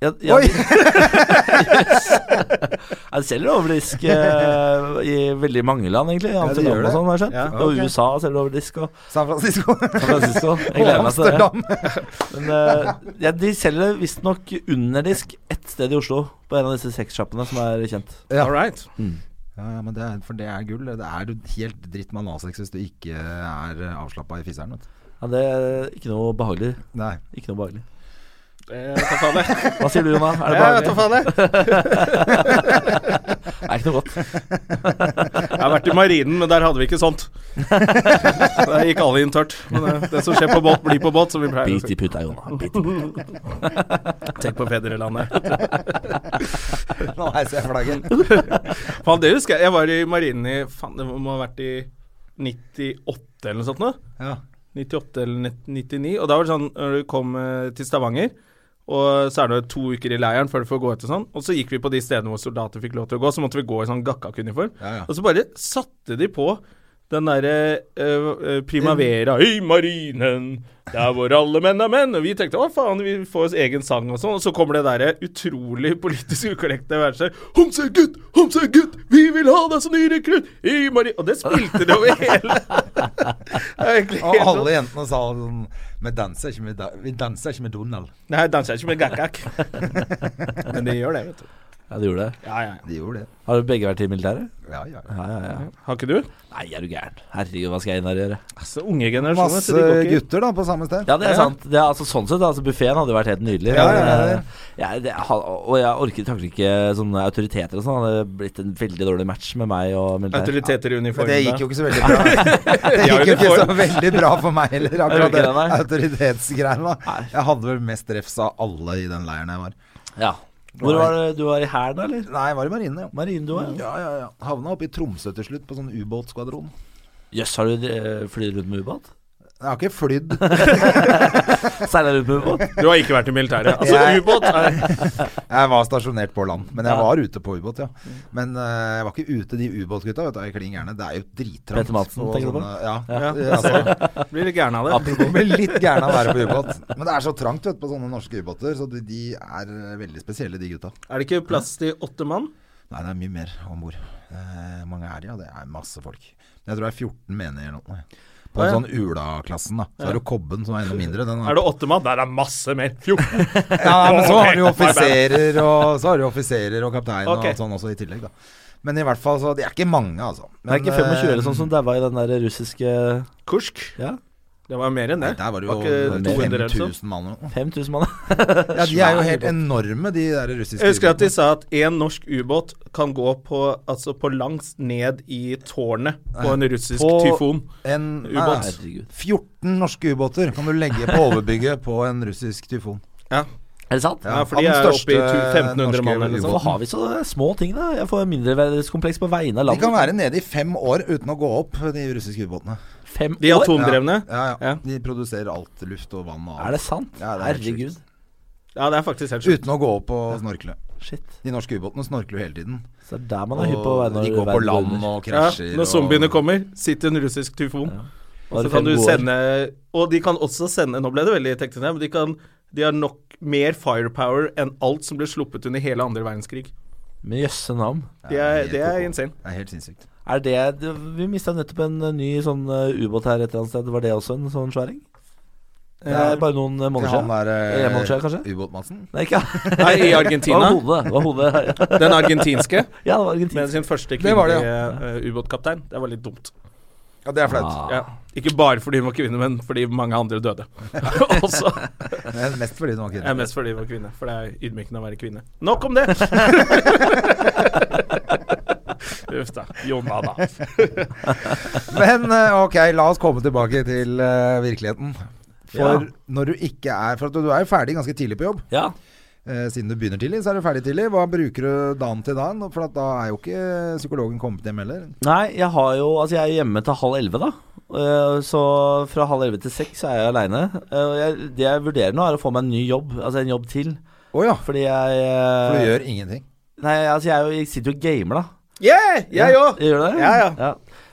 C: Ja, ja,
B: Oi!
C: Ja, det selger overdisk eh, i veldig mange land, egentlig.
B: det gjør
C: Amsterdam
B: det.
C: og sånn, har jeg skjønt.
A: Ja,
B: ok.
C: Og USA selger overdisk. Og
B: San Francisco.
C: San Francisco. Jeg gleder meg til det.
B: Amsterdam.
C: Men eh, ja, de selger visstnok underdisk ett sted i Oslo, på en av disse sexsjappene som er kjent.
B: Ja.
A: All right.
B: Ja, ja, men det er, for det er gull. Det er jo helt dritt med analsex hvis du ikke er avslappa i fisseren. Vet. du.
C: Ja, det er ikke noe behagelig.
B: Nei.
C: Ikke noe behagelig.
A: Eh, ta faen det.
C: Hva sier du, Jonna? Er det
A: Ja, ta
C: behagelig?
A: faen det.
C: Det er ikke noe godt.
A: Jeg har vært i marinen, men der hadde vi ikke sånt. Der gikk alle inn tørt. Men eh, det, det som skjer på båt, blir på båt, som vi pleier å
C: Bit
A: si.
C: i puta, Jonna. Bit i puta.
A: Tenk på fedrelandet.
B: Nå heiser jeg flagget.
A: Faen, det husker jeg. Jeg var i marinen i Faen, det må ha vært i 98 eller noe sånt nå.
B: Ja.
A: 98 eller net- 99. Og da var det sånn når du kom eh, til Stavanger, og så er det to uker i leiren før du får gå ut og sånn. Og så gikk vi på de stedene hvor soldater fikk lov til å gå, så måtte vi gå i sånn gakkak-uniform.
B: Ja, ja.
A: Og så bare satte de på den derre eh, eh, primavera I marinen, der hvor alle menn er menn. Og vi tenkte å faen, vi får oss egen sang og sånn. Og så kommer det derre utrolig politisk ukorrekte verset. Homsegutt, homsegutt, vi vil ha deg som ny rekrutt i marinen. Og det spilte de over hele. Det er egentlig
B: Og
A: helt
B: alle jentene sa sånn Vi danser ikke med, da vi danser ikke med Donald.
A: Nei, jeg danser ikke med gakkak. Men de gjør det, vet du.
C: Ja, det gjorde det.
A: Ja, ja, ja.
B: De gjorde det.
C: Har du begge vært i militæret?
B: Ja, ja.
C: Ja, ja, ja.
A: Har ikke du?
C: Nei, er du gæren. Herregud, hva skal jeg inn her og gjøre?
A: Altså, unge generasjoner. så
B: Masse
A: de går ikke-
B: gutter da på samme sted.
C: Ja, det er
A: Ja.
C: sant. Det er, altså, sånn sett, altså, buffeen hadde vært helt nydelig.
B: Ja,
C: men,
B: ja, ja.
C: eh, jeg, det, ha- og jeg orket kanskje ikke sånne autoriteter og sånn. Det hadde blitt en veldig dårlig match med meg og militæret.
A: Autoriteter i uniformen.
B: Men det gikk jo ikke så veldig bra. Det
A: Ja,
B: gikk jo ikke
A: uniform.
B: så veldig bra for meg heller, akkurat
C: Gjorde
B: det
C: ikke det, nei.
B: autoritetsgreiene. da.
C: Nei.
B: Jeg hadde vel mest refs av alle i den leiren jeg var.
C: Ja. Hvor var det du var i hæren, eller?
B: Nei, jeg var i marinen, ja.
C: Marinen, du var?
B: Ja, ja, ja. Havna oppe i Tromsø til slutt, på sånn ubåtskvadron.
C: Jøss, har du eh, flydd rundt med ubåt?
B: Jeg har ikke flydd.
C: Seila rundt med ubåt?
A: Du har ikke vært i militæret. Altså,
B: Jeg-
A: ubåt er
B: Jeg var stasjonert på land, men jeg
C: Ja.
B: var ute på ubåt, ja.
A: Mm.
B: Men eh, jeg var ikke ute de ubåtgutta, vet du. Jeg er klin gærne. Det er jo drittrangt.
C: Petter Madsen,
B: og
C: tenker du på?
B: sånne- Ja.
A: Ja.
B: Eh, Altså,
A: Blir litt gæren av det.
B: jeg blir litt gæren av å være på ubåt. Men det er så trangt, vet du, på sånne norske ubåter. Så de, de er eh, veldig spesielle, de gutta.
A: Er det ikke plass til åtte mann?
B: Nei, det er mye mer om bord. Eh, mange er det, ja. Det er masse folk. Men jeg tror det er 14 menige eller noe. På
A: Å, ja.
B: en sånn Ula-klassen, da. Så er det Kobben, som er enda mindre. Den
A: Er det åtte mann? Nei, det er masse mer. 14.
B: Ja, men så har du jo
A: Ok, my bad.
B: offiserer og, så har du offiserer og kaptein
A: Ok.
B: og sånn også i tillegg, da. Men i hvert fall, så De er ikke mange, altså.
C: Det er ikke 25 eller
B: eh,
C: sånn som daua i den der russiske
A: Kursk.
C: Ja,
A: Det var mer enn
B: Nei,
A: det.
B: der var det
A: Var
B: jo
A: ikke 200 eller
B: 5000 mann eller noe.
C: 5000 mann.
B: Ja, de er jo helt enorme, de der russiske
A: Jeg husker at de
B: ubåtene.
A: sa at én norsk ubåt kan gå på, altså på langs ned i tårnet på en russisk
B: På-
A: tyfon.
B: En
A: ubåt.
B: nei,
C: Herregud.
B: 14 norske ubåter kan du legge på overbygget på en russisk tyfon.
A: Ja.
C: Er det sant?
A: Ja, for de
B: av den
A: er oppe i
B: største
A: 1500 mann eller noe
B: norske
A: sånt.
C: Hvorfor har vi så små ting, da? Jeg får mindreverdighetskompleks på vegne
B: De
C: av landet.
B: kan være nede i fem år uten å gå opp, de russiske ubåtene.
C: Fem
A: De
C: år?
A: atomdrevne.
B: Ja, ja,
A: Ja.
B: ja. De produserer alt luft og vann og
C: Er
B: alt.
C: det sant?
B: Ja, det er helt
C: Herregud.
A: Ja, det er faktisk helt sjukt.
B: Uten å gå opp og snorkle.
C: Shit.
B: De norske ubåtene snorkler jo hele tiden.
C: Så det er der man er hypp på å
B: Og
C: være
B: de går på land og
A: Ja,
B: krasjer.
A: når zombiene kommer, sitter en russisk tyfon. Så kan du sende Og de kan også sende Nå ble det veldig teknisk, her, men de, kan, de har nok mer firepower enn alt som ble sluppet under hele andre verdenskrig.
C: Med jøsse navn.
A: Det er, det er insane.
B: Det er helt sinnssykt.
C: Er det det- Vi mista nettopp en eh, ny sånn eh, ubåt her et eller annet sted. Var det også en sånn sværing? Det
A: Ja.
C: er bare noen eh, måneder
B: Til han
C: siden. En
B: der
C: måned siden, kanskje?
B: eh, ubåt-Madsen?
C: Nei, ikke
A: Nei, i
C: Det var
A: Argentina.
C: hodet. Det var hodet.
A: Den argentinske
C: Ja, det var Argentina.
A: med sin første
B: Det var det,
A: kvinnelige eh, ubåtkaptein. Det var litt dumt.
B: Ja, det er flaut.
C: Ah.
A: Ja. Ikke bare fordi hun var kvinne, men fordi mange andre døde. også.
B: Men Mest fordi du var
A: Jeg er
B: kvinne.
A: mest fordi hun var kvinne, for det er ydmykende å være kvinne. Nok om det! Uff da. Jonna, da.
B: Men eh, ok, la oss komme tilbake til eh, virkeligheten. For
C: Ja.
B: når du ikke er For at du du er jo ferdig ganske tidlig på jobb.
C: Ja.
B: Eh, siden du begynner tidlig, så er du ferdig tidlig. Hva bruker du dagen til dagen? For at da er jo ikke psykologen kommet hjem heller.
C: Nei, jeg har jo Altså, jeg er hjemme til halv elleve, da. Eh, Så fra halv elleve til seks er jeg aleine. Det jeg vurderer nå, er å få meg en ny jobb. Altså en jobb til.
B: Å ja.
C: Fordi jeg eh,
B: For du gjør ingenting.
C: Nei, altså, jeg, er jo- jeg sitter jo og gamer, da.
A: Yeah! Jeg òg!
C: Gjør du det?
A: Ja, ja.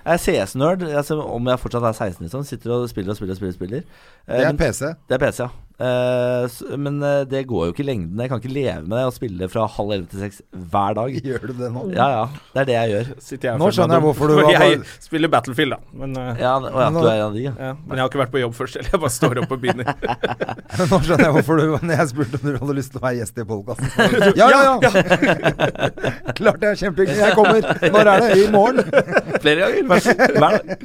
C: Jeg er CS-nerd, altså, om jeg fortsatt er 16 liksom. Sitter og spiller og spiller og spiller. og spiller. Eh,
B: Det er
C: men-
B: PC.
C: det er PC, ja. Eh, s- men eh, det går jo ikke i lengden. Jeg kan ikke leve med det å spille fra halv elleve til seks hver dag.
B: Gjør du det nå?
C: Ja, ja. Det er det jeg gjør.
A: Sitter jeg og føler
B: Nå
A: meg
B: skjønner jeg
A: dum.
B: hvorfor du
A: Fordi
B: var
A: jeg
B: bare-
A: spiller Battlefield, da. Men, eh,
C: Ja, og ja,
B: Men nå-
C: du er en av de, ja.
A: ja. men jeg har ikke vært på jobb først heller. Jeg bare står opp og begynner.
B: Nå skjønner jeg hvorfor du Når jeg spurte om du hadde lyst til å være gjest i podkasten. Ja, ja, ja! Klart det er kjempehyggelig. Jeg kommer. Når er det? I morgen?
C: Flere ganger. Hver dag. Nei,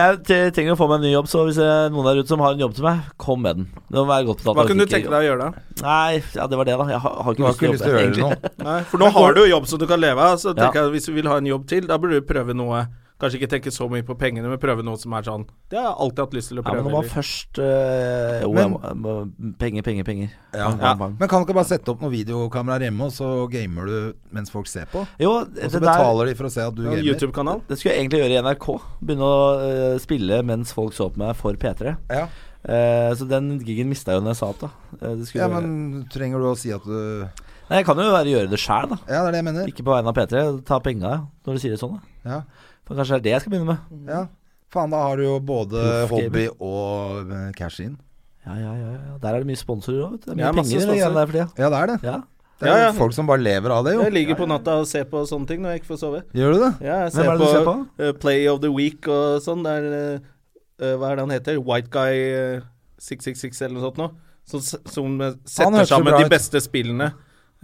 C: Jeg t- trenger å få meg en ny jobb, så hvis jeg, noen der ute som har en jobb til meg, kom med den. Det må være godt betalt.
A: Hva
C: jeg
A: kunne du
C: fikk ikke
A: tenke deg å gjøre da?
C: jobb. Nei, ja, det var det, da. Jeg har, har
B: Du
C: ikke
B: har ikke lyst til å gjøre
C: egentlig.
B: noe.
A: Nei, for nå har du jo jobb som du kan leve av, så
C: Ja.
A: tenker jeg at hvis du vil ha en jobb til, da burde du prøve noe Kanskje ikke tenke så mye på pengene, men prøve noe som er sånn Det har jeg alltid hatt lyst til å
C: Ja, men
A: prøve.
C: når man
A: eller-
C: først øh, jo,
B: Men-
C: jeg må- jeg må- Penger, penger, penger.
B: Ja.
C: Bang, bang,
A: Ja.
C: bang.
B: Men kan du ikke bare sette opp noen videokameraer hjemme, og så gamer du mens folk ser på?
C: Jo,
B: Og
C: det
B: så
C: der
B: betaler de for å se at du
A: Ja,
B: gamer?
A: YouTube-kanal.
C: Det skulle jeg egentlig gjøre i NRK. Begynne å øh, spille mens folk så på meg for P3.
B: Ja.
C: Eh, så den gigen mista jeg jo når jeg sa opp, da. Eh, det skulle,
B: ja, men trenger du å si at du
C: Nei, jeg kan jo være gjøre det sjæl, da.
B: Ja, det er det jeg mener.
C: Ikke på vegne av P3. Ta penga ja, når du sier det sånn. Da.
B: Ja.
C: For kanskje det er det jeg skal begynne med.
B: ja. Faen, da har du jo både
C: Proff
B: hobby og eh, cash in.
C: Ja, ja, ja, ja. Der er det mye sponsorer òg, vet du. Det er mye
A: Ja, masse
C: penger i det
A: sponsorer.
C: greiene der for tida.
B: Ja, det er det.
C: Ja.
B: Det er
A: Ja, ja.
B: jo folk som bare lever av det, jo.
A: Jeg ligger på natta og ser på sånne ting når jeg ikke får sove.
B: Gjør du det?
A: Ja, jeg
C: Hvem
A: ser
C: er det du ser
A: på
C: på?
A: eh, Play of the Week og sånn. Det er eh, eh, Hva er det han heter? White Guy eh, 666 eller noe sånt noe. Som, s- som eh, setter
B: hørtes så
A: sammen
B: bra
A: de
B: ut.
A: beste spillene.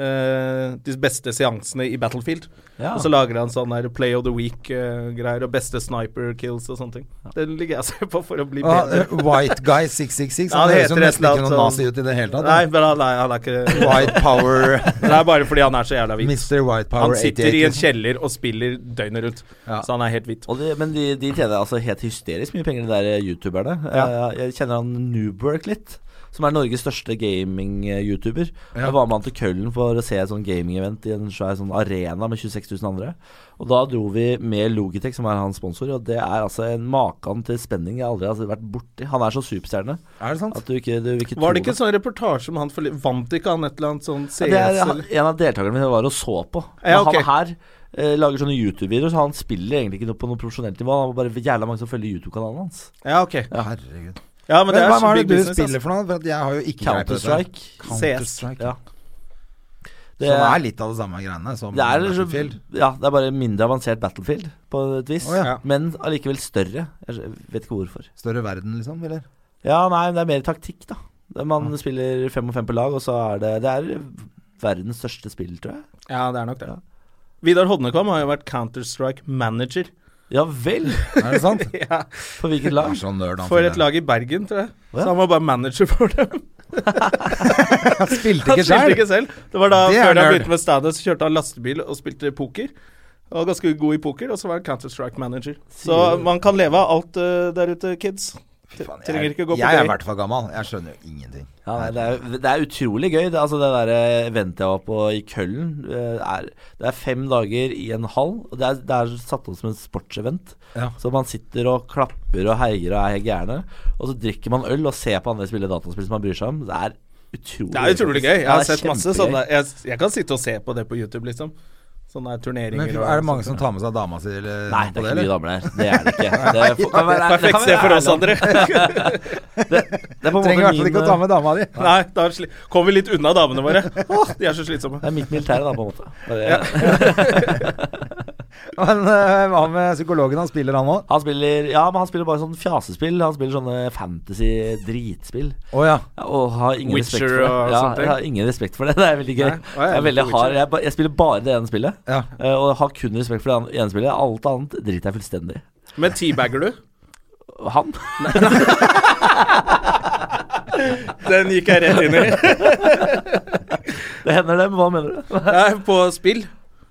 A: eh, de beste seansene i Battlefield.
C: Ja.
A: Og så lager han sånn der Play of the Week-greier, og beste sniper kills og sånne ting. Det ligger jeg og ser på for å bli
B: Ah,
A: bedre.
B: eh, white Guy 666.
A: Ja,
B: Han
A: det
B: høres jo
A: heter et eller
B: nesten ikke
A: annet
B: noen
A: sånn-
B: nazi ut i det hele tatt.
A: Nei,
B: da.
A: men han er, han er ikke
B: White Power
A: Det er bare fordi han er så jævla hvit.
B: Mr. White Power
A: Han sitter i en Sånn.
B: 88.
A: kjeller og spiller døgnet rundt,
B: Ja.
A: så han er helt hvit.
C: Og de, men de, de tjener altså helt hysterisk mye penger, de der eh, youtuberne.
A: Ja.
C: Eh, Jeg kjenner han Newberg litt, som er Norges største gaming-youtuber.
B: Ja.
C: Da var med han til Køllen for å se et sånn gaming-event i en svær sånn arena med 26 000 andre. Og da dro vi med Logitech, som er hans sponsor, og det er altså en maken til spenning jeg aldri har vært borti. Han er så superstjerne
B: Er det sant?
C: at du ikke, du, vil ikke
A: Var det
C: tro
A: ikke sånn reportasje om han forli- Vant ikke han et eller annet sånn CS?
C: det er, han-
A: eller?
C: en av deltakerne mine var og så på. Men
A: Ja, ok.
C: Han her eh, lager sånne YouTube-videoer, så han spiller egentlig ikke noe på noe profesjonelt nivå. Han har bare jævla mange som følger YouTube-kanalen hans.
A: Ja, ok.
B: Herregud.
A: Ja, men,
B: Men,
A: det er
B: hva,
A: så
B: er
A: big
B: det du
A: business. altså.
B: spiller for noe? For at jeg har jo ikke greie på dette.
C: Counter-Strike.
B: Counter-Strike.
C: Ja. Det,
B: Som er litt av det samme greiene som
C: det er, liksom-
B: Battlefield.
C: ja, det er bare mindre avansert Battlefield, på et vis.
B: Å,
A: ja.
C: Men allikevel større. Jeg vet ikke hvorfor.
B: Større verden, liksom? Eller?
C: Ja, nei, det er mer taktikk, da. Det- Man spiller fem og fem på lag, og så er det Det er verdens største spill, tror jeg.
A: Altså. Ja, det er nok det. Vidar Hodnekvam har jo vært Counter-Strike-manager.
C: Ja vel!
B: Er det sant?
A: Ja,
C: For
B: Jeg
C: hvilket lag?
B: er så nerd, han
A: for
B: fyren
A: et
B: der.
A: lag i Bergen, tror jeg.
C: Å, ja.
A: Så han var bare manager for dem.
B: Han spilte
A: Han spilte
B: ikke sjøl!
A: ikke selv. Det var da
B: Det er
A: før han
B: nerd.
A: begynte med standup, så kjørte han lastebil og spilte poker. Han var ganske god i poker, og så var han Counter-Strike-manager. Så
C: Sier du det?
A: man kan leve av alt eh, der ute, kids. Trenger ikke gå på
B: jeg er i
A: date.
B: hvert fall gammel. Jeg skjønner jo ingenting.
C: Ja, nei, det, er, det er utrolig gøy. Det, altså, det der eh, eventet jeg var på i Køllen eh, er, Det er fem dager i en hall. Og det, er, det er satt opp som en sportsevent.
B: Ja.
C: Så man sitter og klapper og heier og er helt gærne. Og så drikker man øl og ser på andre spille dataspill som man bryr seg om. Det er utrolig
A: Det er utrolig gøy. Jeg
C: Ja,
A: har
C: det er
A: sett masse
C: kjempegøy.
A: sånne jeg, jeg kan sitte og se på det på YouTube, liksom. Sånne turneringer
B: Men
A: og
B: er det mange
A: sånt.
B: som tar med seg dama si eller noe
C: Nei,
B: på
C: det er
B: det,
C: ikke mye
B: eller?
C: damer der. Det er det ikke. Det, får- kan være- det
A: Perfekt
C: kan
A: sted
C: være
A: for oss sånn.
C: ærlig.
A: andre.
C: Det er på en
B: Trenger i
C: måte
B: hvert fall ikke å ta
C: min,
A: eh,
B: med dama di.
A: Nei, da sli- kommer vi litt unna damene våre. Åh, de er så slitsomme.
C: det er mitt militære, da, på en måte. Det er-
B: Men eh, hva med psykologen? Han spiller, han òg?
C: Han spiller Ja, men han spiller bare sånn fjasespill. Han spiller sånne fantasy-dritspill.
B: Å ja.
C: Ja, og har ingen
A: Witcher
C: respekt for det.
A: og
C: ja,
A: sånne ting.
C: Jeg har ingen respekt for det. Det er veldig gøy.
A: Nei, å, ja,
C: jeg, er veldig
A: Witcher.
C: hard. Jeg, ba- jeg spiller bare det ene spillet.
B: ja.
C: eh, Og har kun respekt for det an- ene spillet. Alt annet driter jeg fullstendig i.
A: Men teabagger du?
C: Og Han?
A: Den gikk jeg rett inn i.
C: Det hender det, men hva mener du?
A: Nei, På spill.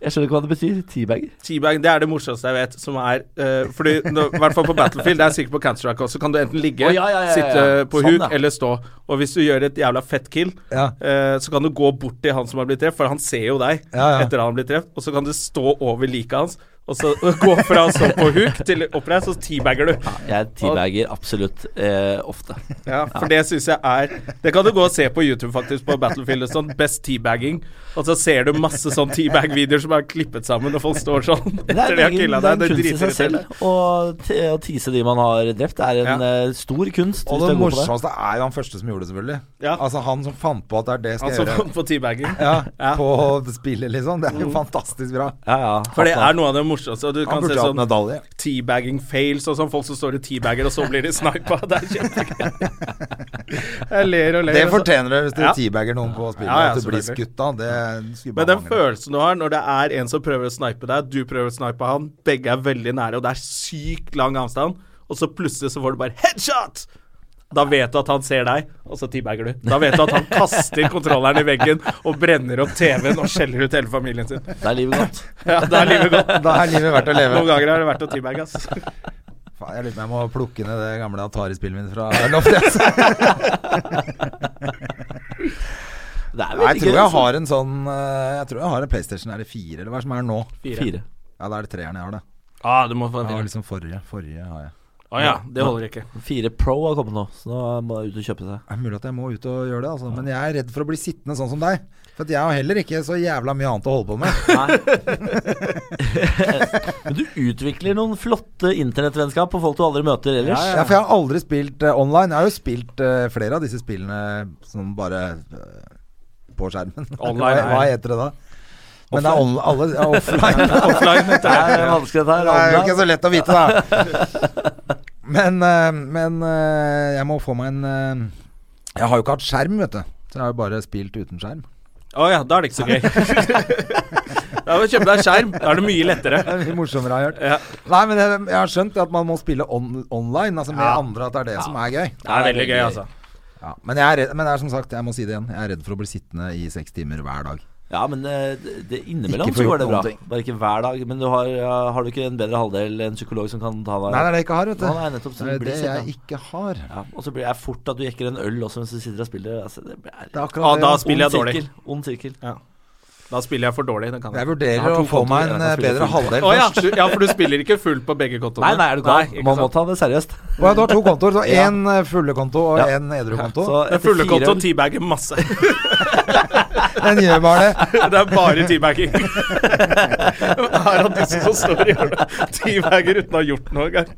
C: Jeg skjønner ikke hva det betyr. Teabagger.
A: Teabag, det er det morsomste jeg vet, som er eh, Fordi, nå- i hvert fall på Battlefield, det er sikkert på Counter-Strike også, kan du enten ligge,
C: Å, ja, ja, ja, ja, ja.
A: sitte på
C: Sånn,
A: huk
C: ja.
A: eller stå. Og hvis du gjør et jævla fett kill,
B: Ja.
A: eh, så kan du gå bort til han som har blitt treffet, for han ser jo deg
B: Ja, ja.
A: etter han har blitt treffet, og så kan du stå over liket hans, og så gå fra å stå på huk til oppreist, så teabagger du.
C: Jeg teabagger absolutt eh, ofte.
A: Ja, for det syns jeg er Det kan du gå og se på YouTube, faktisk, på Battlefield og sånn. Best teabagging. Og så ser du masse sånn teabag-videoer som er klippet sammen, og folk står sånn
C: Det er,
A: etter de har
C: en egen-
A: killa
C: det er
A: deg. Det
C: en kunst i
A: driter
C: seg
A: i selv.
C: selv å te- å tease de man har drept. Det er en eh, stor kunst.
B: Og
C: hvis
B: det
C: du er god på
B: morsomste er jo han første som gjorde det, selvfølgelig.
A: Ja.
B: Altså han som fant på at det er det
A: Han
B: skal
A: som
B: jeg gjøre.
A: kom på teabagging.
B: Ja,
A: Ja.
B: På spillet, liksom. Det er jo fantastisk bra.
C: Ja, ja.
A: For det er noe av det morsomste. og Du
B: Han
A: kan se
B: burde hatt
A: sånn
B: medalje.
A: teabagging fails og sånn. Folk som står og teabagger, og så blir de snipa. Det er kjempegøy. Jeg ler og ler.
B: Det
A: og så-
B: fortjener du hvis du
A: Ja.
B: teabagger noen på spillet.
A: Ja, ja,
B: at du blir
A: selvfølgelig.
B: skutt av. Det skulle
A: Men
B: bare
A: den
B: mangle.
A: følelsen du har når det er en som prøver å snipe deg, du prøver å snipe han, begge er veldig nære, og det er sykt lang avstand, og så plutselig så får du bare headshot! Da vet du at han ser deg, og så teabagger du. Da vet du at han kaster kontrolleren i veggen og brenner opp TV-en og skjeller ut hele familien sin.
C: Da er livet godt.
A: Ja, da er livet godt.
B: Da er livet verdt å leve.
A: Noen ganger er det verdt å teabagge, ass.
B: Faen, jeg lurer på om jeg må plukke ned det gamle Atari-spillet mitt fra loftet. Altså.
C: Det
B: Nei,
C: er
B: Jeg
C: veldig
B: tror
C: gøy.
B: jeg
C: altså.
B: har en sånn eh, Jeg tror jeg har en PlayStation Er det fire, eller hva er det som er nå?
C: altså. Fire.
B: Ja, da er det treeren jeg har, da.
A: Ah, du må få
B: Jeg
A: en
B: har
A: fire.
B: liksom forrige. Forrige har jeg.
A: Å ja, det holder ikke.
C: Fire Pro har kommet nå, så nå må jeg ut og kjøpe seg.
B: Det er mulig at jeg må ut og gjøre det, altså. Men jeg er redd for å bli sittende sånn som deg. For at jeg har heller ikke så jævla mye annet å holde på med.
C: Nei. Men du utvikler noen flotte internettvennskap på folk du aldri møter ellers.
B: Ja, for jeg har aldri spilt eh, online. Jeg har jo spilt eh, flere av disse spillene som bare eh, på skjermen.
A: Online
B: hva, hva
A: er-
B: heter det da? Men det er on alle, ja, offline.
A: Offline, vet du.
C: Det er vanskelig dette her.
B: Det er jo
C: online.
B: ikke så lett å vite, da. Men, eh, men eh, jeg må få meg en eh, Jeg har jo ikke hatt skjerm, vet du. Så jeg har jo bare spilt uten skjerm.
A: Å ja, da er det ikke så gøy. Da må du kjøpe deg skjerm. Da er det mye lettere.
B: Det er mye morsommere, har jeg hørt.
A: Ja,
B: Nei, men jeg, jeg har skjønt at man må spille on online, altså med
A: Ja.
B: andre, at det er det som er gøy.
A: det er veldig gøy, altså.
B: Ja, men, jeg er redd, men det er som sagt, jeg må si det igjen. Jeg er redd for å bli sittende i seks timer hver dag.
C: Ja, men eh, det det innimellom
B: Ikke få
C: så går
B: gjort
C: det bra.
B: noen ting.
C: Bare ikke hver dag. Men du har, ja, har du ikke en bedre halvdel, en psykolog som kan ta deg
B: Nei, det er det jeg ikke har, vet du.
C: Nei, nei, nettopp, så
B: det
C: du
B: er
C: blir
B: det
C: sittende.
B: jeg ikke har.
C: ja, Og så blir jeg fort at du jekker en øl også mens du sitter og spiller. Altså, det er
B: Det er akkurat
A: Ah,
B: det.
A: da
B: ja.
A: spiller jeg
C: ond
A: dårlig.
C: sirkel, Ond sirkel.
A: Da spiller jeg for dårlig. Det kan jeg.
B: Jeg
C: Jeg
B: vurderer
C: har to
B: å få
C: kontoer,
B: meg en eh,
C: jeg kan spille
B: bedre
C: fullt.
B: halvdel
A: Å ja,
B: først.
A: du, ja, for du spiller ikke fullt på begge kontoene?
C: Nei, nei, er du gal?
A: ikke
C: Man må
A: sant.
C: ta det seriøst.
B: Å ja, du har to kontoer. Du har
C: Ja.
B: én eh, fulle konto og
C: Ja.
B: én edru konto.
C: Så
A: Den
C: etter
A: fulle
C: fire
A: kontoen
C: øl-
A: teabagger masse.
B: Den gjør bare det.
A: Det er bare teabagging. Her er disse som står i hjørnet. Teabagger uten å ha gjort noe engang.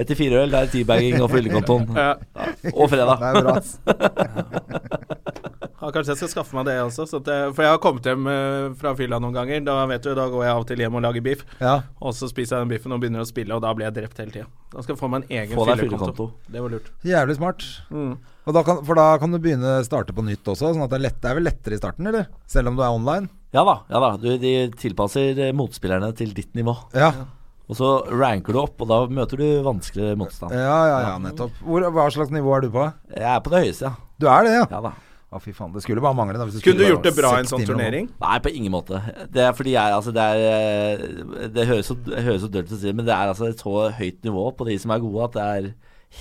C: Etter fire øl, det er teabagging og fyllekontoen.
A: Ja.
C: Og fredag.
B: Det er bra. ass.
A: Ja, kanskje jeg skal skaffe meg det også. Så at jeg, for jeg har kommet hjem eh, fra fylla noen ganger. Da vet du, da går jeg av og til hjem og lager biff.
B: Ja.
A: Og så spiser jeg den biffen og begynner å spille, og da blir jeg drept hele tida. Da skal jeg få meg en egen
C: Få deg
A: fyllekonto.
C: fyllekonto.
A: Det var lurt.
B: Jævlig smart.
A: Mm.
B: Og da kan, for da kan du begynne å starte på nytt også, sånn at det er, lett, det er vel lettere i starten, eller? Selv om du er online?
C: Ja da. ja da du, De tilpasser eh, motspillerne til ditt nivå.
B: Ja,
C: Og så ranker du opp, og da møter du vanskeligere motstand.
B: ja, ja, ja nettopp. Hvor, hva slags nivå er du på?
C: Jeg er på det høyeste, ja.
B: Du er det, ja?
C: ja da.
B: Å, fy faen. Det skulle bare mangle. Da, hvis
A: Kunne du
B: skulle
A: gjort det
B: være
A: bra i en
B: seks
A: sånn
B: timer om dagen.
A: turnering?
C: Nei, på ingen måte. Det er fordi jeg altså, Det, er, eh, det høres så, det høres så dølt ut å si, men det er altså et så høyt nivå på de som er gode, at det er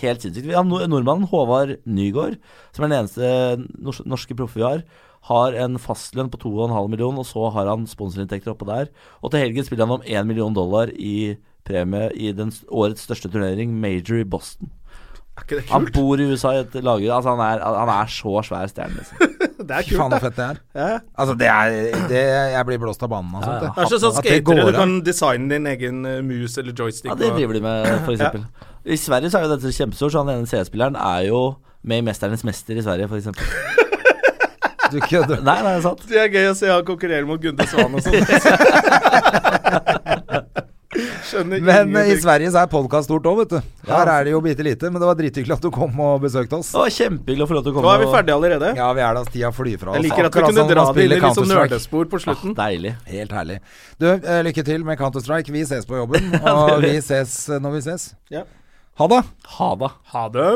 C: helt sinnssykt. Vi har nor- nordmannen Håvard Nygaard, som er den eneste nors norske proffe vi har, har en fastlønn på 2,5 millioner, og så har han sponsorinntekter oppå der. Og til helgen spiller han om 1 million dollar i premie i den s- årets største turnering, Major i Boston.
A: Er ikke det
C: Han
A: kult?
C: bor i USA i et lager Altså, han er, han er så svær stjerne, liksom.
A: Det er
B: Fy
A: kult,
B: faen så fett det er.
A: da. Ja.
B: Altså, det er det, Jeg blir blåst av banen av
C: Ja,
B: sånt.
C: ja.
B: jeg.
A: Kanskje sånn
B: At det går
A: skatere, du
B: an.
A: kan designe din egen eh, mus eller joystick.
C: Ja, det
A: og-
C: driver de med, f.eks. I Sverige så er jo dette kjempestort, så han ene CS-spilleren er jo med i 'Mesternes mester' i Sverige, f.eks.
B: Du kødder.
C: Nei, nei, det er sant.
A: Det er gøy å se han konkurrere mot Gunde Svan og sånn. Skjønner
B: Men eh, i
A: ingenting.
B: Sverige så er podkast stort òg, vet du. Her
C: Ja.
B: er det jo bitte lite, men det var drithyggelig at du kom og besøkte oss.
C: Det var kjempehyggelig å få lov til å komme.
A: Nå er vi
C: og-
A: ferdige allerede.
B: Ja, vi er da tida flyr fra oss.
A: Jeg liker at vi kunne
B: Akkurat som
A: dra
B: man
A: det inn i
B: spiller
A: litt sånn
B: Counter-Strike.
A: nerdespor på slutten.
C: Ah, deilig.
B: Helt herlig. Du, eh, lykke til med Counter-Strike. Vi ses på jobben, og vi ses eh, når vi ses.
A: Ja.
B: Ha det!
C: Ha det.
A: Ha det.